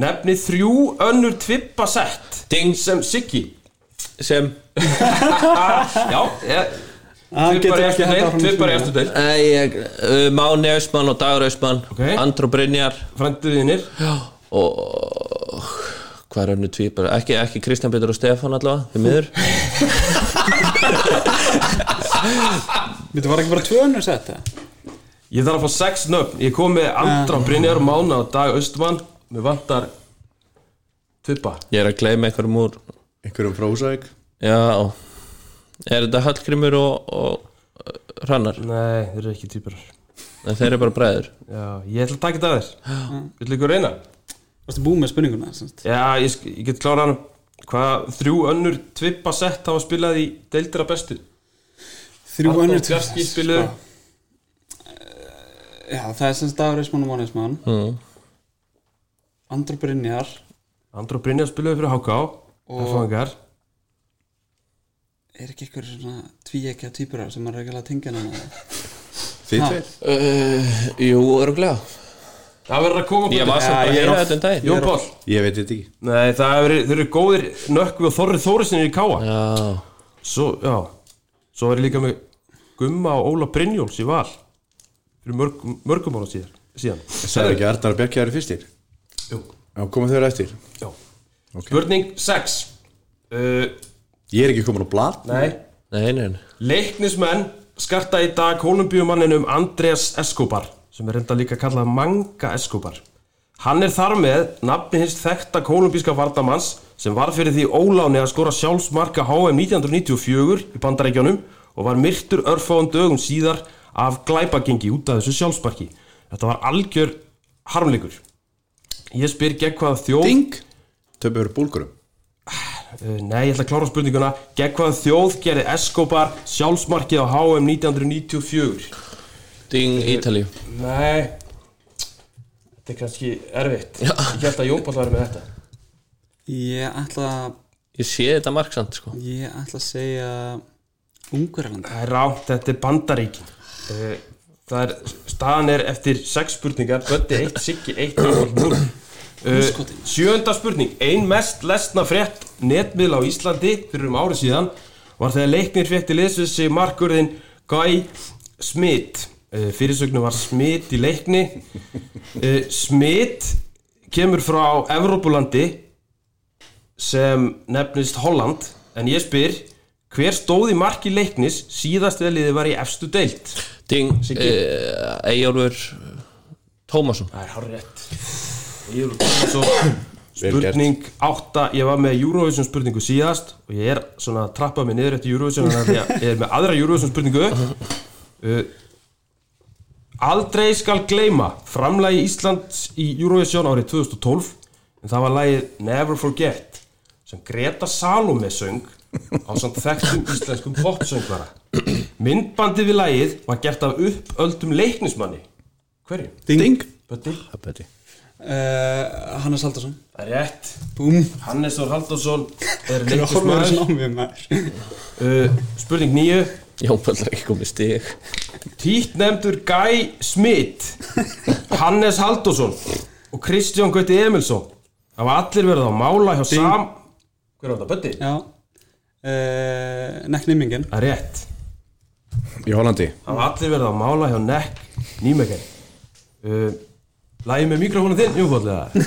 [SPEAKER 5] Nefni þrjú önnur tvippasett
[SPEAKER 2] Ding.
[SPEAKER 5] sem Siggi
[SPEAKER 2] sem
[SPEAKER 5] Já, ég
[SPEAKER 3] Hann
[SPEAKER 5] Tvippar
[SPEAKER 3] getur
[SPEAKER 5] í
[SPEAKER 3] ekki
[SPEAKER 5] efstu
[SPEAKER 3] haldið
[SPEAKER 5] deild,
[SPEAKER 3] áfram að
[SPEAKER 5] tvippar í
[SPEAKER 3] spila.
[SPEAKER 5] efstu deild
[SPEAKER 2] Nei, ég, uh, Máni Austmann og Dagur Austmann
[SPEAKER 5] Ok.
[SPEAKER 2] Andró Brynjar
[SPEAKER 5] Frændiðinir
[SPEAKER 2] og hvað er önnu tvípar ekki, ekki Kristján Pétur og Stefán allavega því miður
[SPEAKER 3] Við var ekki bara tvö önnur sett eða?
[SPEAKER 5] Ég þarf að fá sex nöfn Ég kom með Andra Brynjar Mána og Dag Östumann Mér vantar Tvippa
[SPEAKER 2] ég er að gleyma einhverjum úr
[SPEAKER 1] Einhverjum frósæk
[SPEAKER 2] já er þetta Hallgrimur og, og uh, Hrannar
[SPEAKER 5] Nei, þeir eru ekki tvíburar
[SPEAKER 2] en þeir eru bara bræður
[SPEAKER 5] Já, ég ætla að taka þetta að þér Vill ykkur reyna?
[SPEAKER 3] Varstu búið með spurninguna sem sagt?
[SPEAKER 5] Já, ég, sk- ég get klárað hann Hvað þrjú önnur tvippa sett hafa spilað í deildra bestu?
[SPEAKER 3] Þrjú
[SPEAKER 5] Arnór
[SPEAKER 3] önnur
[SPEAKER 5] Bjarki spiluðu
[SPEAKER 3] Eh, Já, það er sem sagt Dagur Ísmann og Mánismann
[SPEAKER 2] mm.
[SPEAKER 3] Andra Brynjar
[SPEAKER 5] Andra Brynjar spiluðu fyrir HK
[SPEAKER 3] Og-
[SPEAKER 5] F.O.N.G.R.
[SPEAKER 3] Er ekki eitthvað svona tvíekja týpurar sem maður er ekki alveg að tengja hana
[SPEAKER 1] Þið
[SPEAKER 3] Ha.
[SPEAKER 1] tveir
[SPEAKER 2] uh, jú, öruglega
[SPEAKER 5] Það verður að koma
[SPEAKER 2] ég var
[SPEAKER 5] Böddi.
[SPEAKER 2] samt bara
[SPEAKER 3] Já,
[SPEAKER 2] að
[SPEAKER 3] ég er
[SPEAKER 2] heyra
[SPEAKER 3] off.
[SPEAKER 2] þetta um daginn
[SPEAKER 5] Jón Pál
[SPEAKER 1] Ég veit þetta ekki
[SPEAKER 5] Nei, það hefur, þeir eru góðir nökkvi og Þorri Þórisinir í Káa
[SPEAKER 2] já,
[SPEAKER 5] Svo, já Svo er ég líka með Gumma og Óla Brynjóls í val Fyrir mörg, mörgum ára síðar, síðan
[SPEAKER 1] Sæður ekki Arnar og Bjarki eru fyrstir
[SPEAKER 5] Jú,
[SPEAKER 1] Já, komum þeir eftir
[SPEAKER 5] já Spurning 6 uh,
[SPEAKER 1] Ég er ekki komin á blad
[SPEAKER 5] Nei
[SPEAKER 2] nei, nei, nei
[SPEAKER 5] Leiknismenn skarta í dag kolumbíumanninum Andreas Escobar sem er enda líka kallað Manga Escobar Hann er þar með nafni hins þekta kolumbíska vardamanns sem var fyrir því óláni að skora sjálfsmarka HM 1994 í bandarækjunum og var myrtur örfáum dögum síðar af glæpagengi út af þessu sjálfsmarki Þetta var algjör harmleikur Ég spyr gegn hvaða þjóð
[SPEAKER 1] Ding Töpum eru búlgurum
[SPEAKER 5] Uh, Nei, ég ætla að klára spurninguna Gegn hvaða þjóð gerði Escobar sjálfsmarkið á HM 1994?
[SPEAKER 2] Ding Ítalíu
[SPEAKER 5] Nei Þetta er kannski erfitt Ég held að Jónpall var með þetta
[SPEAKER 3] Ég ætla að-
[SPEAKER 2] ég sé þetta marksand sko
[SPEAKER 3] Ég ætla að segja Ungverland
[SPEAKER 5] Það er rátt, þetta er bandaríkin Uh, Það er, staðan er eftir sex spurningar Böndi 1, Siggi 1, Jónpall 0
[SPEAKER 3] Andskotinn.
[SPEAKER 5] Sjönda Uh, spurning Ein mest lesna frétt netmiðl á Íslandi fyrir um árið síðan var þegar leiknir frétti lesuð sig markurðin Guy Smith Eh, fyrirsögnu var Smith í leikni Eh, Smith kemur frá Evrópulandi sem nefnist Holland en ég spyr hver stóð í marki leiknis síðast eða liðið var í efstu deilt
[SPEAKER 2] Ding
[SPEAKER 5] Siggi.
[SPEAKER 2] uh, Eyjólfur Tómasson
[SPEAKER 5] Það er hárétt Ég vil svo
[SPEAKER 1] Vel gert.
[SPEAKER 5] Spurning 8, ég var með Eurovision spurningu síðast og ég er svona að trappa mig niður eftir Eurovision en ég er með aðra Eurovision spurningu uh, Aldrei skal gleyma framlægi Íslands í Eurovision árið 2012 en það var lagið Never Forget sem Greta Salome söng á samt þekktum íslenskum popsöngvara. Myndbandið við lagið var gert af uppöldum leiknismanni. Hverju?
[SPEAKER 1] Ding
[SPEAKER 5] Bötti?
[SPEAKER 1] Bötti.
[SPEAKER 3] uh, Hannes Haldarsson
[SPEAKER 5] Það er rétt.
[SPEAKER 3] Búm
[SPEAKER 5] Hannes Þór Halldórsson er
[SPEAKER 3] Hólmaður
[SPEAKER 5] leiknismæður.
[SPEAKER 3] snámið maður
[SPEAKER 5] Uh, spurning nýju.
[SPEAKER 2] Jón Páll er ekki komið stig
[SPEAKER 5] Títt nefndur Guy Smith Hannes Halldórsson og Kristján Gauti Emilsson hafa allir verið á mála hjá Sam Hver var þetta, Bötti?
[SPEAKER 3] Já uh, Nekk nýmingin
[SPEAKER 5] Það er rétt
[SPEAKER 1] Í Hollandi
[SPEAKER 5] hafa allir verið á mála hjá Neck Nýmegen uh, Lægi með mikrofónu þinn, júfóllega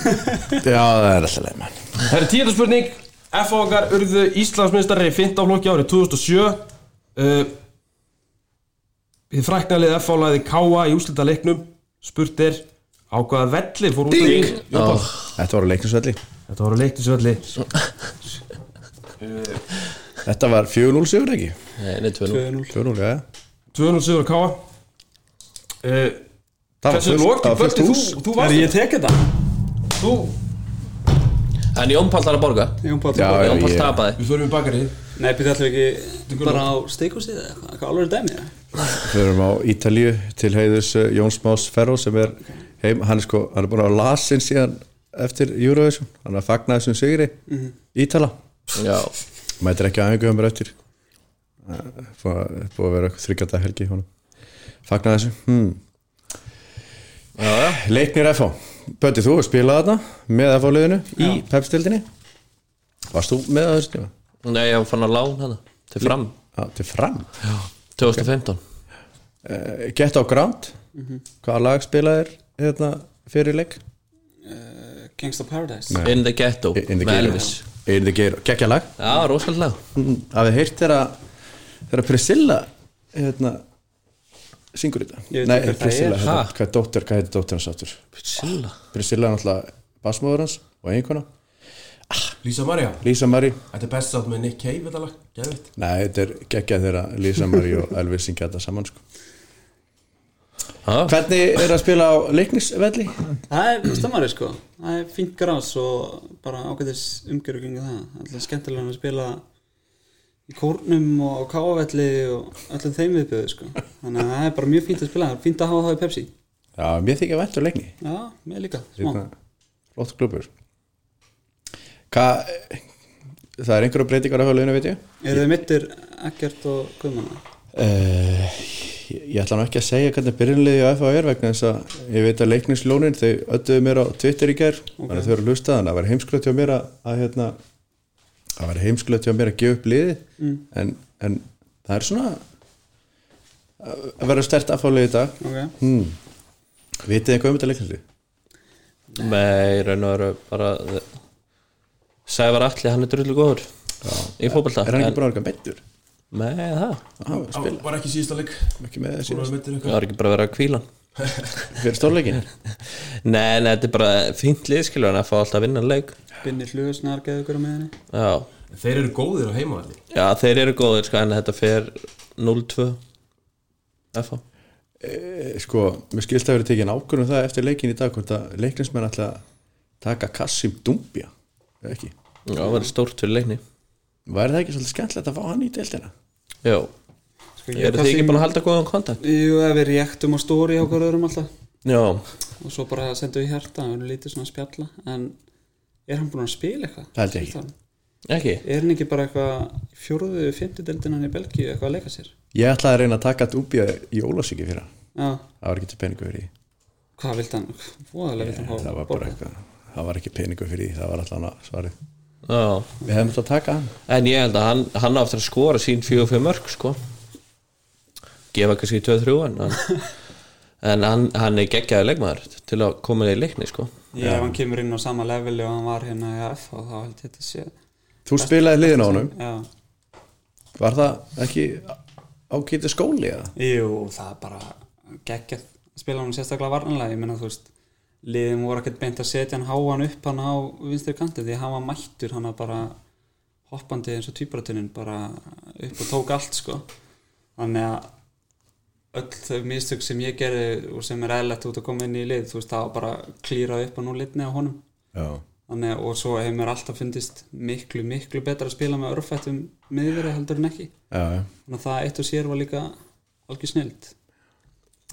[SPEAKER 1] Já, það er alltaf leið mann
[SPEAKER 5] Það er tíðan spurning F.O.K.ar urðu Íslandsminnstari í 15 flokki árið 2007 uh, Þið fræknalið F.O. laði K.A. í úslita leiknum Spurt er á hvaða velli fór út Ding!
[SPEAKER 1] oh. Þetta var á leiknisvelli
[SPEAKER 5] Þetta voru leiknisvelli
[SPEAKER 1] Þetta var 4-0 sigur ekki
[SPEAKER 2] Nei, nei, tvö nú
[SPEAKER 3] 2-0
[SPEAKER 1] 4-0, já
[SPEAKER 5] 200 sigur að káa uh,
[SPEAKER 1] Það
[SPEAKER 5] Þessu
[SPEAKER 1] fullt-
[SPEAKER 5] loki,
[SPEAKER 1] það var fullt
[SPEAKER 5] Bötti, þú,
[SPEAKER 1] hús.
[SPEAKER 5] þú
[SPEAKER 3] Er
[SPEAKER 5] varst
[SPEAKER 3] ég tek þetta?
[SPEAKER 5] Þú,
[SPEAKER 2] En Jón Páll þarf að borga
[SPEAKER 3] Jón Páll
[SPEAKER 1] Já,
[SPEAKER 2] Jón Páll
[SPEAKER 1] ég-
[SPEAKER 2] tapaði
[SPEAKER 5] við förum í bakarið
[SPEAKER 3] Nei, byrja allir ekki bara á steikúsið eða eitthvað, eitthvað alveg dæmi eða?
[SPEAKER 1] Við erum á Ítalíu til heiðus uh, Jóns Más Ferro sem er heim, hann er sko, hann er búin að lasin síðan eftir Eurovision, hann er að fagna þessum sigri Ítala,
[SPEAKER 2] Já,
[SPEAKER 1] mætir ekki aðeins um eftir Uh, búið að búið að vera þryggjata helgi honum. fagna þessu hmm. Leiknir FH Böndi, þú hefur spilað þarna með FH liðinu í pepstildinni Varst þú með að þessu tíma?
[SPEAKER 2] nei, ég var fann að lána hana Til fram,
[SPEAKER 1] Já, til fram
[SPEAKER 2] 2015
[SPEAKER 1] Uh, Get á ground Hvaða lag spilaðir hérna, fyrir leik?
[SPEAKER 3] Gangsta Paradise
[SPEAKER 1] Nei.
[SPEAKER 2] In the Ghetto
[SPEAKER 1] In the Ghetto.
[SPEAKER 2] Með Elvis
[SPEAKER 1] Einu geir, gekkja lag
[SPEAKER 2] Já, rosalega
[SPEAKER 1] Mm. Hafið þið heyrt þeirra þeirra Priscilla hérna, syngur
[SPEAKER 3] Ég
[SPEAKER 1] þetta
[SPEAKER 3] veit
[SPEAKER 1] Nei,
[SPEAKER 3] ekki hver það
[SPEAKER 1] Priscilla,
[SPEAKER 3] er.
[SPEAKER 1] hérna,
[SPEAKER 2] Ha?
[SPEAKER 1] hvað, dóttir, hvað heitir dóttir hans áttur?
[SPEAKER 2] Priscilla
[SPEAKER 1] Priscilla er náttúrulega basmóður hans og eiginkona
[SPEAKER 5] Lísa Marja,
[SPEAKER 1] Lisa Marie,
[SPEAKER 5] þetta er best átt með Nick Cave þetta lag, geðvitt
[SPEAKER 1] nei, þetta er geggjað þeirra Lisa Marie og Elvis syngja þetta saman sko.
[SPEAKER 2] Ha?
[SPEAKER 1] Hvernig er að spila á leiknisvelli?
[SPEAKER 3] Það er stammari sko Það er fínt grás og bara ágætis umgjörugjengi það Alltaf skemmtilega að spila í kórnum og á káavelli og öllum þeim viðbjöðu sko Þannig að það er bara mjög fínt að spila það Fínt að hafa það í Pepsi
[SPEAKER 1] Já, mér þykja vænt á leikni
[SPEAKER 3] Já, mér líka, smá
[SPEAKER 1] Hérna, Flott klubur Hvað Það er einhverja breytingar á höfleginu, veit ég
[SPEAKER 3] Eru þið mittir ekkert og guðmanna?
[SPEAKER 1] Uh, ég ætla nú ekki að segja hvernig byrjunliði á FH er vegna þess að ég veit að leikningslónin þau ölluðu mér á Twitter í gær þannig að þau eru hlustað en það var heimsklögt hjá mér að, að hérna það var heimsklögt hjá mér að gefa upp liði en, en það er svona að vera stert afhálið í dag
[SPEAKER 3] Ok,
[SPEAKER 1] hmm. vitið þið eitthvað um þetta leikningslið?
[SPEAKER 2] Nei, í raun og veru bara Sævar Atli, hann er drullu góður Í fótbolta
[SPEAKER 1] er hann
[SPEAKER 2] en-
[SPEAKER 1] ekki búin að vera meittur?
[SPEAKER 2] Nei, það
[SPEAKER 1] Ah, spila,
[SPEAKER 5] Var ekki síðasta leik,
[SPEAKER 1] ekki með
[SPEAKER 5] þú var
[SPEAKER 1] þessi
[SPEAKER 5] mittur
[SPEAKER 2] Það var ekki bara að vera að kvíla hann.
[SPEAKER 1] fyrir stórleikin
[SPEAKER 2] Nei, nei, þetta er bara fínt liðskilur en að fá alltaf að vinna leik
[SPEAKER 3] Binni Hlugusnar geðu ykkur á með henni
[SPEAKER 2] Já,
[SPEAKER 5] eitthvað Þeir eru góðir á heimavalli
[SPEAKER 2] já þeir eru góðir sko, en þetta fer 0-2 FH
[SPEAKER 1] Eh, sko, mér skilst að vera tekin ákvörðum það eftir leikin í dag hvort að leiknismenn ætla að taka Kassim Dumbia eða ekki,
[SPEAKER 2] Já, það verður stórt fyrir leikni
[SPEAKER 1] væri það ekki svolítið skemmtilegt að fá hann í deildina?
[SPEAKER 2] Já,
[SPEAKER 3] Sko,
[SPEAKER 2] eru þið ekki búin að halda góðan kontakt?
[SPEAKER 3] Jú, ef við réttum á stóri á hverju öðrum alltaf
[SPEAKER 2] Já,
[SPEAKER 3] og svo bara sendum við hjarta og erum lítið svona að spjalla en er hann búinn að spila eitthvað?
[SPEAKER 1] Það held ég ekki.
[SPEAKER 2] ekki
[SPEAKER 3] Er hann ekki bara eitthvað í fjórðu, fymtideldin hann í Belgíu eitthvað að leika sér?
[SPEAKER 1] Ég ætlaði að reyna að taka Dumbia í ólásingi fyrir hann,
[SPEAKER 3] Já,
[SPEAKER 1] það var ekki til peningu fyrir því Eh,
[SPEAKER 3] hvað vilt hann? Fóðalega vilt hann hafa
[SPEAKER 1] það var bara
[SPEAKER 3] borgað.
[SPEAKER 1] eitthvað, það var ekki peningu fyrir því það var alltaf svarið,
[SPEAKER 2] Já,
[SPEAKER 1] við hefum þetta að taka hann
[SPEAKER 2] en ég held að hann, hann á eftir að skora sín 4-5 mörg sko Gefa kannski 2-3 en, hann- en hann, hann er geggjaði leikmaður til að koma í leikni sko
[SPEAKER 3] Ég, ef hann kemur inn á sama leveli og hann var hérna í F og þá held ég þetta sé
[SPEAKER 1] Þú spilaði liðin á honum,
[SPEAKER 3] Já,
[SPEAKER 1] var það ekki ágæti skóli eða?
[SPEAKER 3] jú, það er bara geggjað að spila hann sérstaklega varnanlega, ég menna þú veist liðin voru ekkert beint að setja hann háan upp hann á vinstri kanti því hann var mættur hann bara hoppandi eins og tvíbratunin bara upp og tók allt sko þannig að öll þau mistök sem ég gerði og sem er eðlætt út að koma inn í lið þú veist, það var bara klírað upp að nú litni á honum
[SPEAKER 1] já,
[SPEAKER 3] Þannig, og svo hefur mér alltaf fundist miklu, miklu betra að spila með örfættum miðverði heldur en ekki
[SPEAKER 1] já,
[SPEAKER 3] þannig að það eitt og sér var líka algjör snild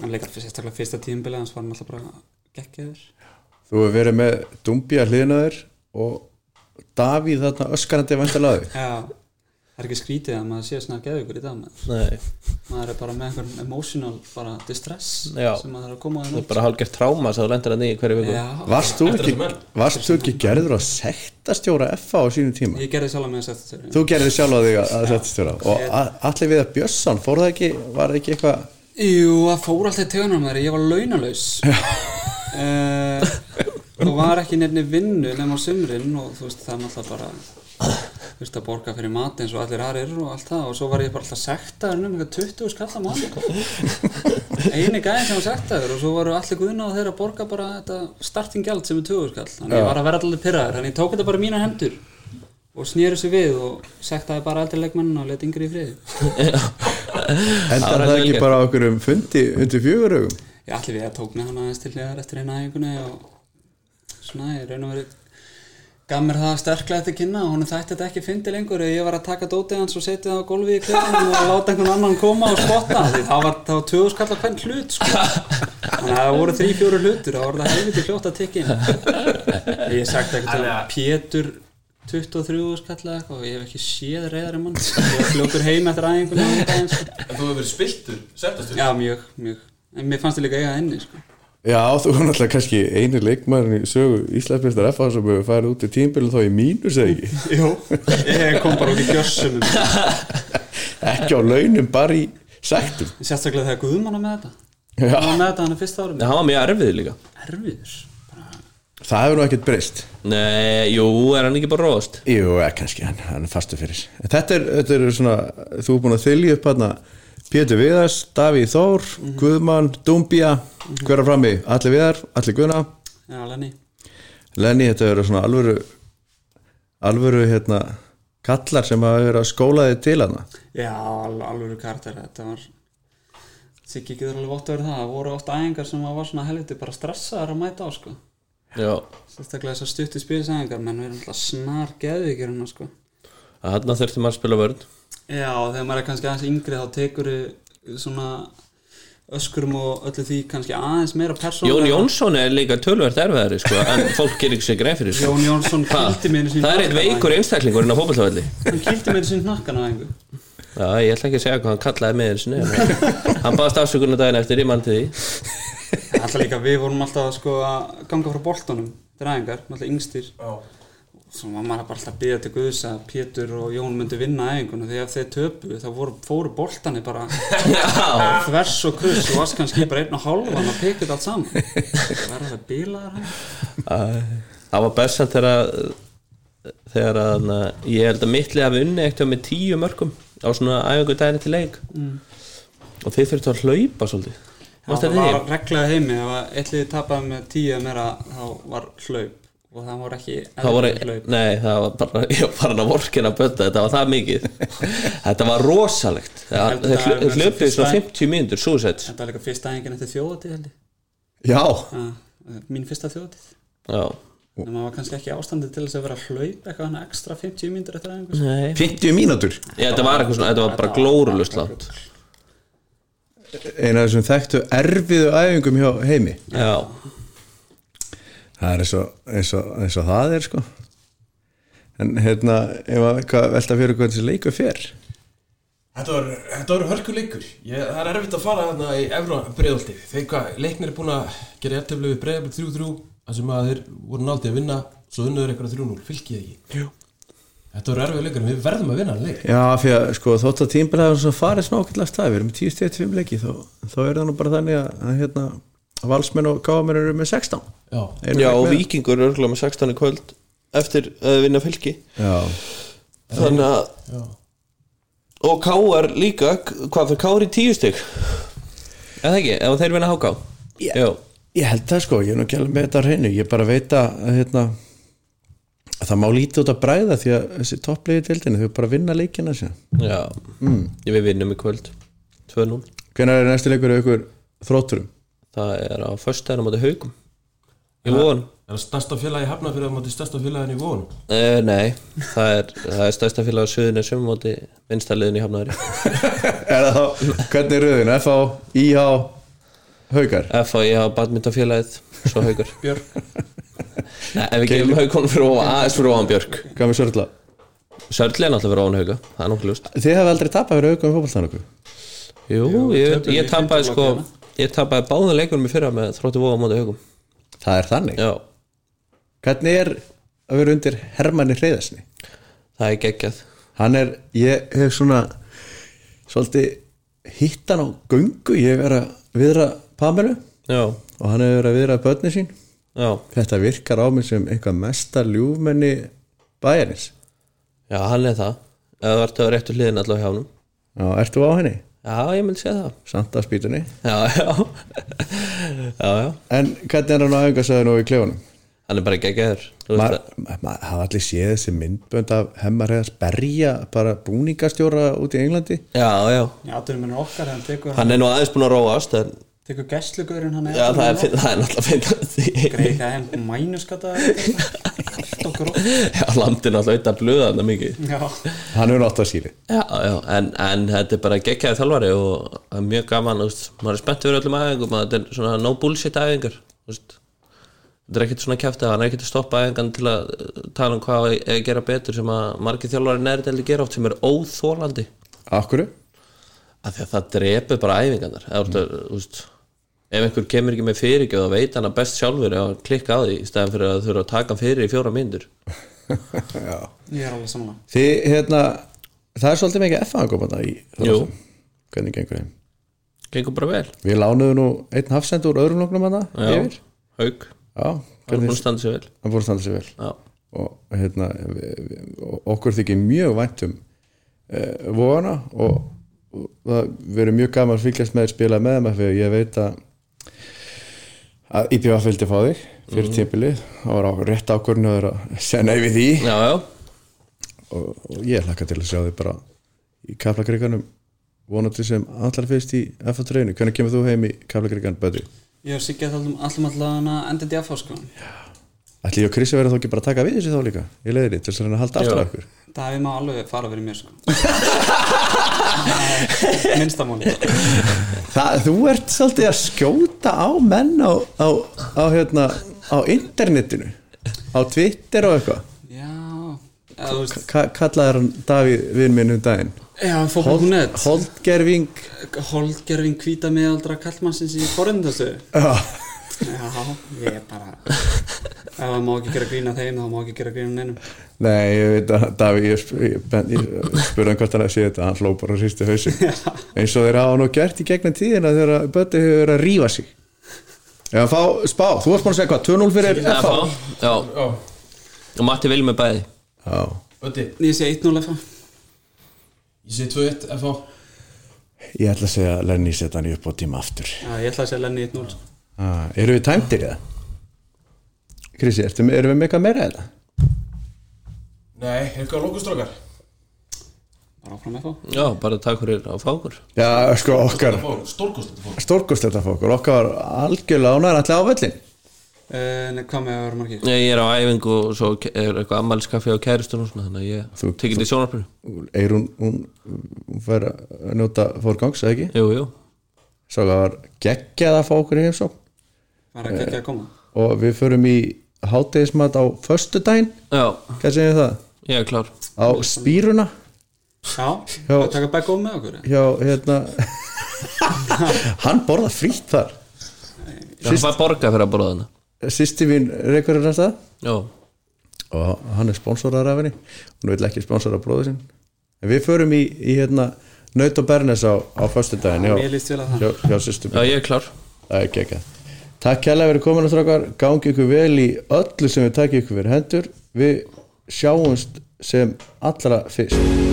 [SPEAKER 3] en líka sérstaklega fyrsta tímbili hans var hann alltaf bara geggjaður
[SPEAKER 1] þú hefur verið með Dumbi að hliðina þér og Davíð þarna öskarandi vandalaði
[SPEAKER 3] Já, það er ekki skrítið að maður sé að snarka geðugur í dag maður.
[SPEAKER 2] Nei,
[SPEAKER 3] maður er bara með einhvern emotional bara distress
[SPEAKER 2] Já.
[SPEAKER 3] sem maður er að koma að
[SPEAKER 2] það er bara hálfgerð tráma sem þú lendir að nýja hverju viku
[SPEAKER 3] Já,
[SPEAKER 1] varst þú ekki, varst þú ekki gerður að sekta stjóra FA á sínum tíma
[SPEAKER 3] ég gerði sjálf með að setja þér
[SPEAKER 1] þú gerðir sjálfa þig að setja stjóra og A- allir við að Björnsson, fór það ekki var það ekki eitthvað
[SPEAKER 3] Jú, það fór alltaf í tegunum maður, ég var launalaus uh, og var ekki nefni vinnu nefn á sumrin og þú veist það er alltaf bara þú veist að borga fyrir mat eins og allir aðrir og allt það og svo var ég bara alltaf sektaður um eitthvað 20 skalla mat eini gæðin sem var sektaður og svo voru allir guðna og þeir að borga bara þetta starting gjald sem er 20 skall þannig ég var að vera allir pyrraður þannig ég tók þetta bara í mína hendur og snýri sig við og sektaði bara aldrei leikmennina og let yngri í friði
[SPEAKER 1] endar
[SPEAKER 2] var
[SPEAKER 1] það
[SPEAKER 2] ekki
[SPEAKER 1] ekki
[SPEAKER 2] vel
[SPEAKER 1] bara á okkur um fundi undir fjögurögum
[SPEAKER 3] Ég ætli við að tók með hann aðeins til hliðar eftir eina æfingunni og svona, ég raun og verið gaf mér það sterklega til kynna og honum þætti þetta ekki fyndi lengur ef ég var að taka dótið hans og setja það á gólfið í klefanum og láta einhvern annan koma og spotta því það var, það var tvöðu skalla hvern hlut sko. þannig að það voru þrý, fjóru hlutur það voru það helviti hljótt að tikkin ég sagt ekkert að Pétur 23 skalla eitthvað og ég hef ekki séð reyðari mann sko. ég var fljókur heim eftir aðeinkunni og þetta eins
[SPEAKER 4] En þú hefur verið spiltur, septastur
[SPEAKER 3] sko. Já, mjög, mjög. En mér fannst það líka eiga enni, sko.
[SPEAKER 1] já, þú var náttúrulega kannski eini leikmærin í sögu Íslandsbjörnstar FA sem hefur farið út í tímbilin þá í mínus eða ekki
[SPEAKER 3] Jú. Ég kom bara út í gjössumum.
[SPEAKER 1] ekki á launum, bara í sektum
[SPEAKER 3] Sérstaklega þegar Guðmann var með þetta. Hann
[SPEAKER 1] já,
[SPEAKER 3] var með þetta hann að fyrsta árum.
[SPEAKER 2] Nei, hann var mjög erfið líka
[SPEAKER 3] Erfiður.
[SPEAKER 1] það hefur nú ekkert breyst
[SPEAKER 2] Nei, jú, er hann ekki bara róast
[SPEAKER 1] jú, eh, kannski, hann, hann er fastu fyrir En þetta er, þetta er svona, þú er búin að þylja upp hann Pétur Viðars, Davíð Þór Guðmann, Dúmbía mm -hmm. hverja frammi, allir Viðar, allir Guðna
[SPEAKER 3] Já, Lenny.
[SPEAKER 1] Lenny, þetta eru svona alvöru alvöru, hérna kallar sem hafa verið að skóla þig til hann
[SPEAKER 3] Já, al alvöru karakter. Þetta var... Siggi getur alveg vott að vera það. Það voru oft æfingar sem maður var svona helviti bara stressaðar að mæta á, sko.
[SPEAKER 2] Já,
[SPEAKER 3] Sérstaklega þessar stuttu spilsæðingar, menn við erum alltaf snar geðvíkir hérna, sko.
[SPEAKER 2] þannig að þurfti maður að spila vörn
[SPEAKER 3] Já, og þegar maður er kannski aðeins yngri þá tekur svona öskurum og öllu því kannski aðeins meira persónulega.
[SPEAKER 2] Jón Jónsson er líka tölvert erfiðari sko, en fólk gerir ekki sér greið fyrir sko.
[SPEAKER 3] Jón Jónsson
[SPEAKER 2] Ha,
[SPEAKER 3] kýldi mér einu sinni
[SPEAKER 2] Það er eitt veikur einstaklingur en á fótballtavalli
[SPEAKER 3] hann kýldi mér sem hnakkan á einhver
[SPEAKER 2] Já, ég ætla ekki að segja hvað hann kallaði með einu sinni en Hann baðast afsökunar daginn eftir, ég mann til því
[SPEAKER 3] alltaf líka við vorum alltaf sko, að ganga frá boltanum dræðingar, alltaf yngstir svo var maður bara alltaf að bíða til Guðs að Pétur og Jón myndu vinna æfinguna því að þeir töpu þá voru, fóru boltani bara
[SPEAKER 2] Já,
[SPEAKER 3] þvers og krus og varst kannski bara einn og hálfan og pekið allt saman það var alltaf bílaðar hann
[SPEAKER 2] það var best samt þegar að þegar að na, ég held að mittli hafi unni ekkert með tíu mörgum á svona æfingu daginn eftir leik
[SPEAKER 3] Mm.
[SPEAKER 2] og þið þurftu að hlaupa svolítið Mást
[SPEAKER 3] það
[SPEAKER 2] þetta
[SPEAKER 3] var
[SPEAKER 2] því?
[SPEAKER 3] reglaði heimi ef að eitthvað tapaði með tíu eða meira þá var hlaup og það var ekki
[SPEAKER 2] Það voru,
[SPEAKER 3] eðlilegt hlaup
[SPEAKER 2] nei, það var bara, ég var bara að vorkina að bötta, þetta var það mikið Þetta var rosalegt Það-
[SPEAKER 3] held að
[SPEAKER 2] Þeir
[SPEAKER 3] það
[SPEAKER 2] hlu-
[SPEAKER 3] er
[SPEAKER 2] hlaupu í svona
[SPEAKER 3] fyrsta-
[SPEAKER 2] 50 mínútur, suicide
[SPEAKER 3] þetta var líka fyrsta æfingin eftir þjóðatíð held ég.
[SPEAKER 1] já,
[SPEAKER 3] Já, mín fyrsta þjóðatíð
[SPEAKER 2] Já,
[SPEAKER 3] en maður var kannski ekki í ástandi til þess að vera að hlaup eitthvað hann ekstra 50 mínútur eftir aðeins
[SPEAKER 2] nei
[SPEAKER 1] 50 mínútur
[SPEAKER 2] Já, þetta var eitthvað svona, þetta var bara glórulust langt
[SPEAKER 1] eina af þessum þekktu erfiðu æfingum hjá heimi
[SPEAKER 2] Já,
[SPEAKER 1] Það er eins og, eins og, eins og það er sko En hérna, ef að hvað velta fyrir hvernig þessi leikur fer
[SPEAKER 4] Þetta var, þetta var hörkuleikur ég, Það er erfitt að fara þarna í Evra breiðolti Þeir hvað, leiknir er búin að gera jættöflegu breiðablik 3-3 þar sem að þeir voru náttið að vinna Svo unnaður eitthvað 3-0, fylgið ekki Jú. Þetta var erfið leikur en við verðum að vinna hann leik
[SPEAKER 1] Já, fyrir að sko, þótt að tímbilega svo farið svona ákveðlega af stað, við erum með 10 stegið tveim leiki þá, þá er það nú bara þannig að, að hérna, valsmenn og gáðamenn eru með 16
[SPEAKER 4] Já,
[SPEAKER 1] Erum
[SPEAKER 2] Já
[SPEAKER 1] við
[SPEAKER 2] og
[SPEAKER 1] með?
[SPEAKER 2] vikingur er örgulega með 16 í kvöld eftir að vinna fylki
[SPEAKER 1] Já,
[SPEAKER 2] Þannig að
[SPEAKER 4] já
[SPEAKER 2] Og K.R. líka, k- hvað fyrir K.R. í tíu stygg Eða ekki, ef þeir vinna HK
[SPEAKER 1] Já.
[SPEAKER 2] Jú,
[SPEAKER 1] ég held það sko, ég er nú ekki alveg með þetta á hreinu, ég bara veit að, að, hérna, að það má lítið út að bræða því að þessi toppliði deildinu, þau bara vinna leikina sér
[SPEAKER 2] já mm. Við vinnum í kvöld 2-0
[SPEAKER 1] Hvenær er næsti leikur hjá ykkur þrótturum?
[SPEAKER 2] Það er á föstudaginn á móti haugum Í lóðan
[SPEAKER 5] Er það stærsta félagi hafna fyrir að móti stærsta félagin í von?
[SPEAKER 2] Uh, nei, það er, það er stærsta félag á söðunni sem móti minnsta liðin í Hafnaðari
[SPEAKER 1] Er það þá, hvernig er röðin? FH, IH, Haukar
[SPEAKER 2] F.A. ég E hafa badmyndafélagið, svo haugur Björk Nei, ef við gefum haugunum fyrir ofan, aðeins fyrir ofan Björk
[SPEAKER 1] Hvað með Sörla?
[SPEAKER 2] Sörli er náttúrulega fyrir ofan hauga, það er nokkuð ljóst
[SPEAKER 1] Þið hefur aldrei tapað fyrir Haukum í fótboltan okkur
[SPEAKER 2] Jú, ég, ég tapaði sko Ég tapaði báða leikunum í fyrra með þrótti vofa á móti haugum
[SPEAKER 1] Það er þannig
[SPEAKER 2] Já,
[SPEAKER 1] Hvernig er að vera undir Hermanni Hreiðarsni?
[SPEAKER 2] það er geggjað
[SPEAKER 1] Hann er, ég hef svona svolítið hittan á göngu Ég hef verið að viðra Pamelu
[SPEAKER 2] Já,
[SPEAKER 1] og hann hefur verið að viðra börni sín
[SPEAKER 2] já,
[SPEAKER 1] Þetta virkar á mig sem eitthvað mesta ljúfmenni bæjarins
[SPEAKER 2] já, hann er það Ef það vartu á réttu hliðin allavega hjá hann
[SPEAKER 1] Já, ertu á henni?
[SPEAKER 2] Já, ég myndi segja það
[SPEAKER 1] Samt að spýtunni
[SPEAKER 2] Já, já Já, já,
[SPEAKER 1] En hvernig er hann á æfingasæðinu og í klefunum?
[SPEAKER 2] hann er bara geggjæður
[SPEAKER 1] maður ma hafa allir séð þessi myndbönd af hemmarhæðas berja bara búningastjóra út í Englandi
[SPEAKER 2] Já, já,
[SPEAKER 3] Já, aðurinn minn er okkar, hann tekur,
[SPEAKER 2] hann er nú aðeins búin að róast en,
[SPEAKER 3] tekur gæslugurinn hann
[SPEAKER 2] Já, það er, finn- það er náttúrulega finn
[SPEAKER 3] Greika heim, mænuskata Stokkur okkur
[SPEAKER 2] Já, landin alltaf auðvitað blöða hann mikið
[SPEAKER 3] Já,
[SPEAKER 1] hann er nátt að skýri
[SPEAKER 2] Já, já, en, en þetta er bara geggjæði þjálfari og það er mjög gaman, þú veist, maður er spennt fyrir öllum æfingum að þetta er svona no bullshit æfingar þú veist, þetta er ekkert svona kæftið hann er ekkert að stoppa æfingan til að uh, tala um hvað er að gera betur sem að margir þjálfari nærdeldi gera oft sem er óþólandi
[SPEAKER 1] Akkur?
[SPEAKER 2] að því að það drepi bara æfingarnar eða mm. úst, ef einhver kemur ekki með fyrirgjöð þá veit hann að best sjálfur ef hann klikka á því í stæðan fyrir að þurfa að taka hann fyrir í fjóra myndur
[SPEAKER 3] ég er alveg samanlega
[SPEAKER 1] Þið, hérna, það er svolítið mikið F-angópaðna í
[SPEAKER 2] Jú.
[SPEAKER 1] Þróttum. Hvernig gengur þeim?
[SPEAKER 2] gengur bara vel,
[SPEAKER 1] Við lánuðum nú einn hafsend úr öðrum loknum hana
[SPEAKER 2] Já.
[SPEAKER 1] yfir
[SPEAKER 2] haug
[SPEAKER 1] Já,
[SPEAKER 2] hann er búin
[SPEAKER 1] hvernig,
[SPEAKER 2] að standa sér vel
[SPEAKER 1] hann búin að standa sér vel
[SPEAKER 2] já,
[SPEAKER 1] og hérna vi- vi- og okkur þykir mjög vænt um eh, vóana og, og það verður mjög gaman að fylgjast með þér spila með þeim af því að ég veit að að IPVF vildi fá þig fyrir
[SPEAKER 2] Mhm.
[SPEAKER 1] mm. tímpilið, það var á rétt ákvörðinu að segja nei við því
[SPEAKER 2] já, já,
[SPEAKER 1] og, og ég hlakka til að sjá þig bara í kaflakrikanum vonandi sem allar fyrst í F-treinu, hvernig kemur þú heim í kaflakrikan Böddi?
[SPEAKER 3] Ég hef sikkert allum allum allan að enda DF á sko
[SPEAKER 1] Ætli ég og Krissi verður þá ekki bara að taka við þessu þá líka í leiðinni til þess að reyna að halda aftur af ykkur
[SPEAKER 3] Það hefði maður alveg fara verið mér sko Minnstamáli
[SPEAKER 1] Það, þú ert svolítið að skjóta á menn á, á, á, hérna, á internetinu á Twitter og eitthvað
[SPEAKER 3] Já, eða þú veist
[SPEAKER 1] Ka kallaði hann Davíð vinn minn um daginn
[SPEAKER 3] Já, fókbúnet
[SPEAKER 1] Holdgerving
[SPEAKER 3] Holgervin kvíta miðaldra kallmannsins í forundastu
[SPEAKER 1] Já,
[SPEAKER 3] Já, ég er bara Ef það má ekki gera grína þeim þá má ekki gera grína neinum
[SPEAKER 1] Nei, ég veit að Davíð ég, sp ég, ben- ég spurði hann hvort hann að sé þetta hann hló bara og hristi hausin eins og þeir hafa nú gert í gegnum tíðina þegar Bötti hefur verið að rífa sig Já, fá, spá, þú varst búin að segja hvað 2-0 fyrir
[SPEAKER 2] já,
[SPEAKER 1] FH
[SPEAKER 2] já.
[SPEAKER 5] Já,
[SPEAKER 2] og Matti vil með bæði
[SPEAKER 1] Já,
[SPEAKER 5] ötti,
[SPEAKER 3] Ég sé 1-0 FH
[SPEAKER 5] ég sé 2-1 FH
[SPEAKER 1] ég ætla að segja að Lenny setja hann í upp á tíma aftur
[SPEAKER 3] Já, ég ætla að segja Lenny 1-0 sko.
[SPEAKER 1] Ah, eru við tæmtir eða? Krissi, ertu, erum við með eitthvað meira eða?
[SPEAKER 5] Nei, eitthvað lókustrókar
[SPEAKER 3] Bara áfram FH
[SPEAKER 2] já, bara takk fyrir á fákur
[SPEAKER 1] Já, sko, okkar
[SPEAKER 5] Stórkost þetta fór
[SPEAKER 1] Stórkostleta fókur, okkar var algjörlega ánæður allir á völlin
[SPEAKER 3] uh, Nei, hvað með að vera margir?
[SPEAKER 2] ég er á æfingu og svo ke- er eitthvað ammælskaffi á kæristun og svona þannig að
[SPEAKER 1] Þú-
[SPEAKER 2] ég tekið þetta í sjónarpinu
[SPEAKER 1] Eirún, hún, hún fær að njóta fórgangs, eða ekki?
[SPEAKER 2] jú, jú,
[SPEAKER 1] Svo það var geggjað að fá okkur í heimsók
[SPEAKER 3] Var ekki ekki að koma?
[SPEAKER 1] og við förum í hátegismat á föstudaginn,
[SPEAKER 2] já,
[SPEAKER 1] hvað segir það?
[SPEAKER 2] ég er klár
[SPEAKER 1] Á spýruna
[SPEAKER 3] Já,
[SPEAKER 1] Já.
[SPEAKER 3] það taka back home með okkur eða?
[SPEAKER 1] hjá, hérna Hann borða frýtt þar
[SPEAKER 2] það var borga fyrir að borða þarna
[SPEAKER 1] Sýsti mín reykurinn að stað
[SPEAKER 2] já,
[SPEAKER 1] og hann er sponsorar af henni hún vil ekki sponsora bróðu sinn en við förum í, í hérna Naut og Bernes á, á föstudaginn hjá,
[SPEAKER 3] Mér líst vel að það
[SPEAKER 1] hjá, hjá systum
[SPEAKER 2] já, ég er klár
[SPEAKER 1] það er geggjað takk kærlega fyrir kominu strákar gangi ykkur vel í öllu sem við takja ykkur fyrir hendur við sjáumst sem allra fyrst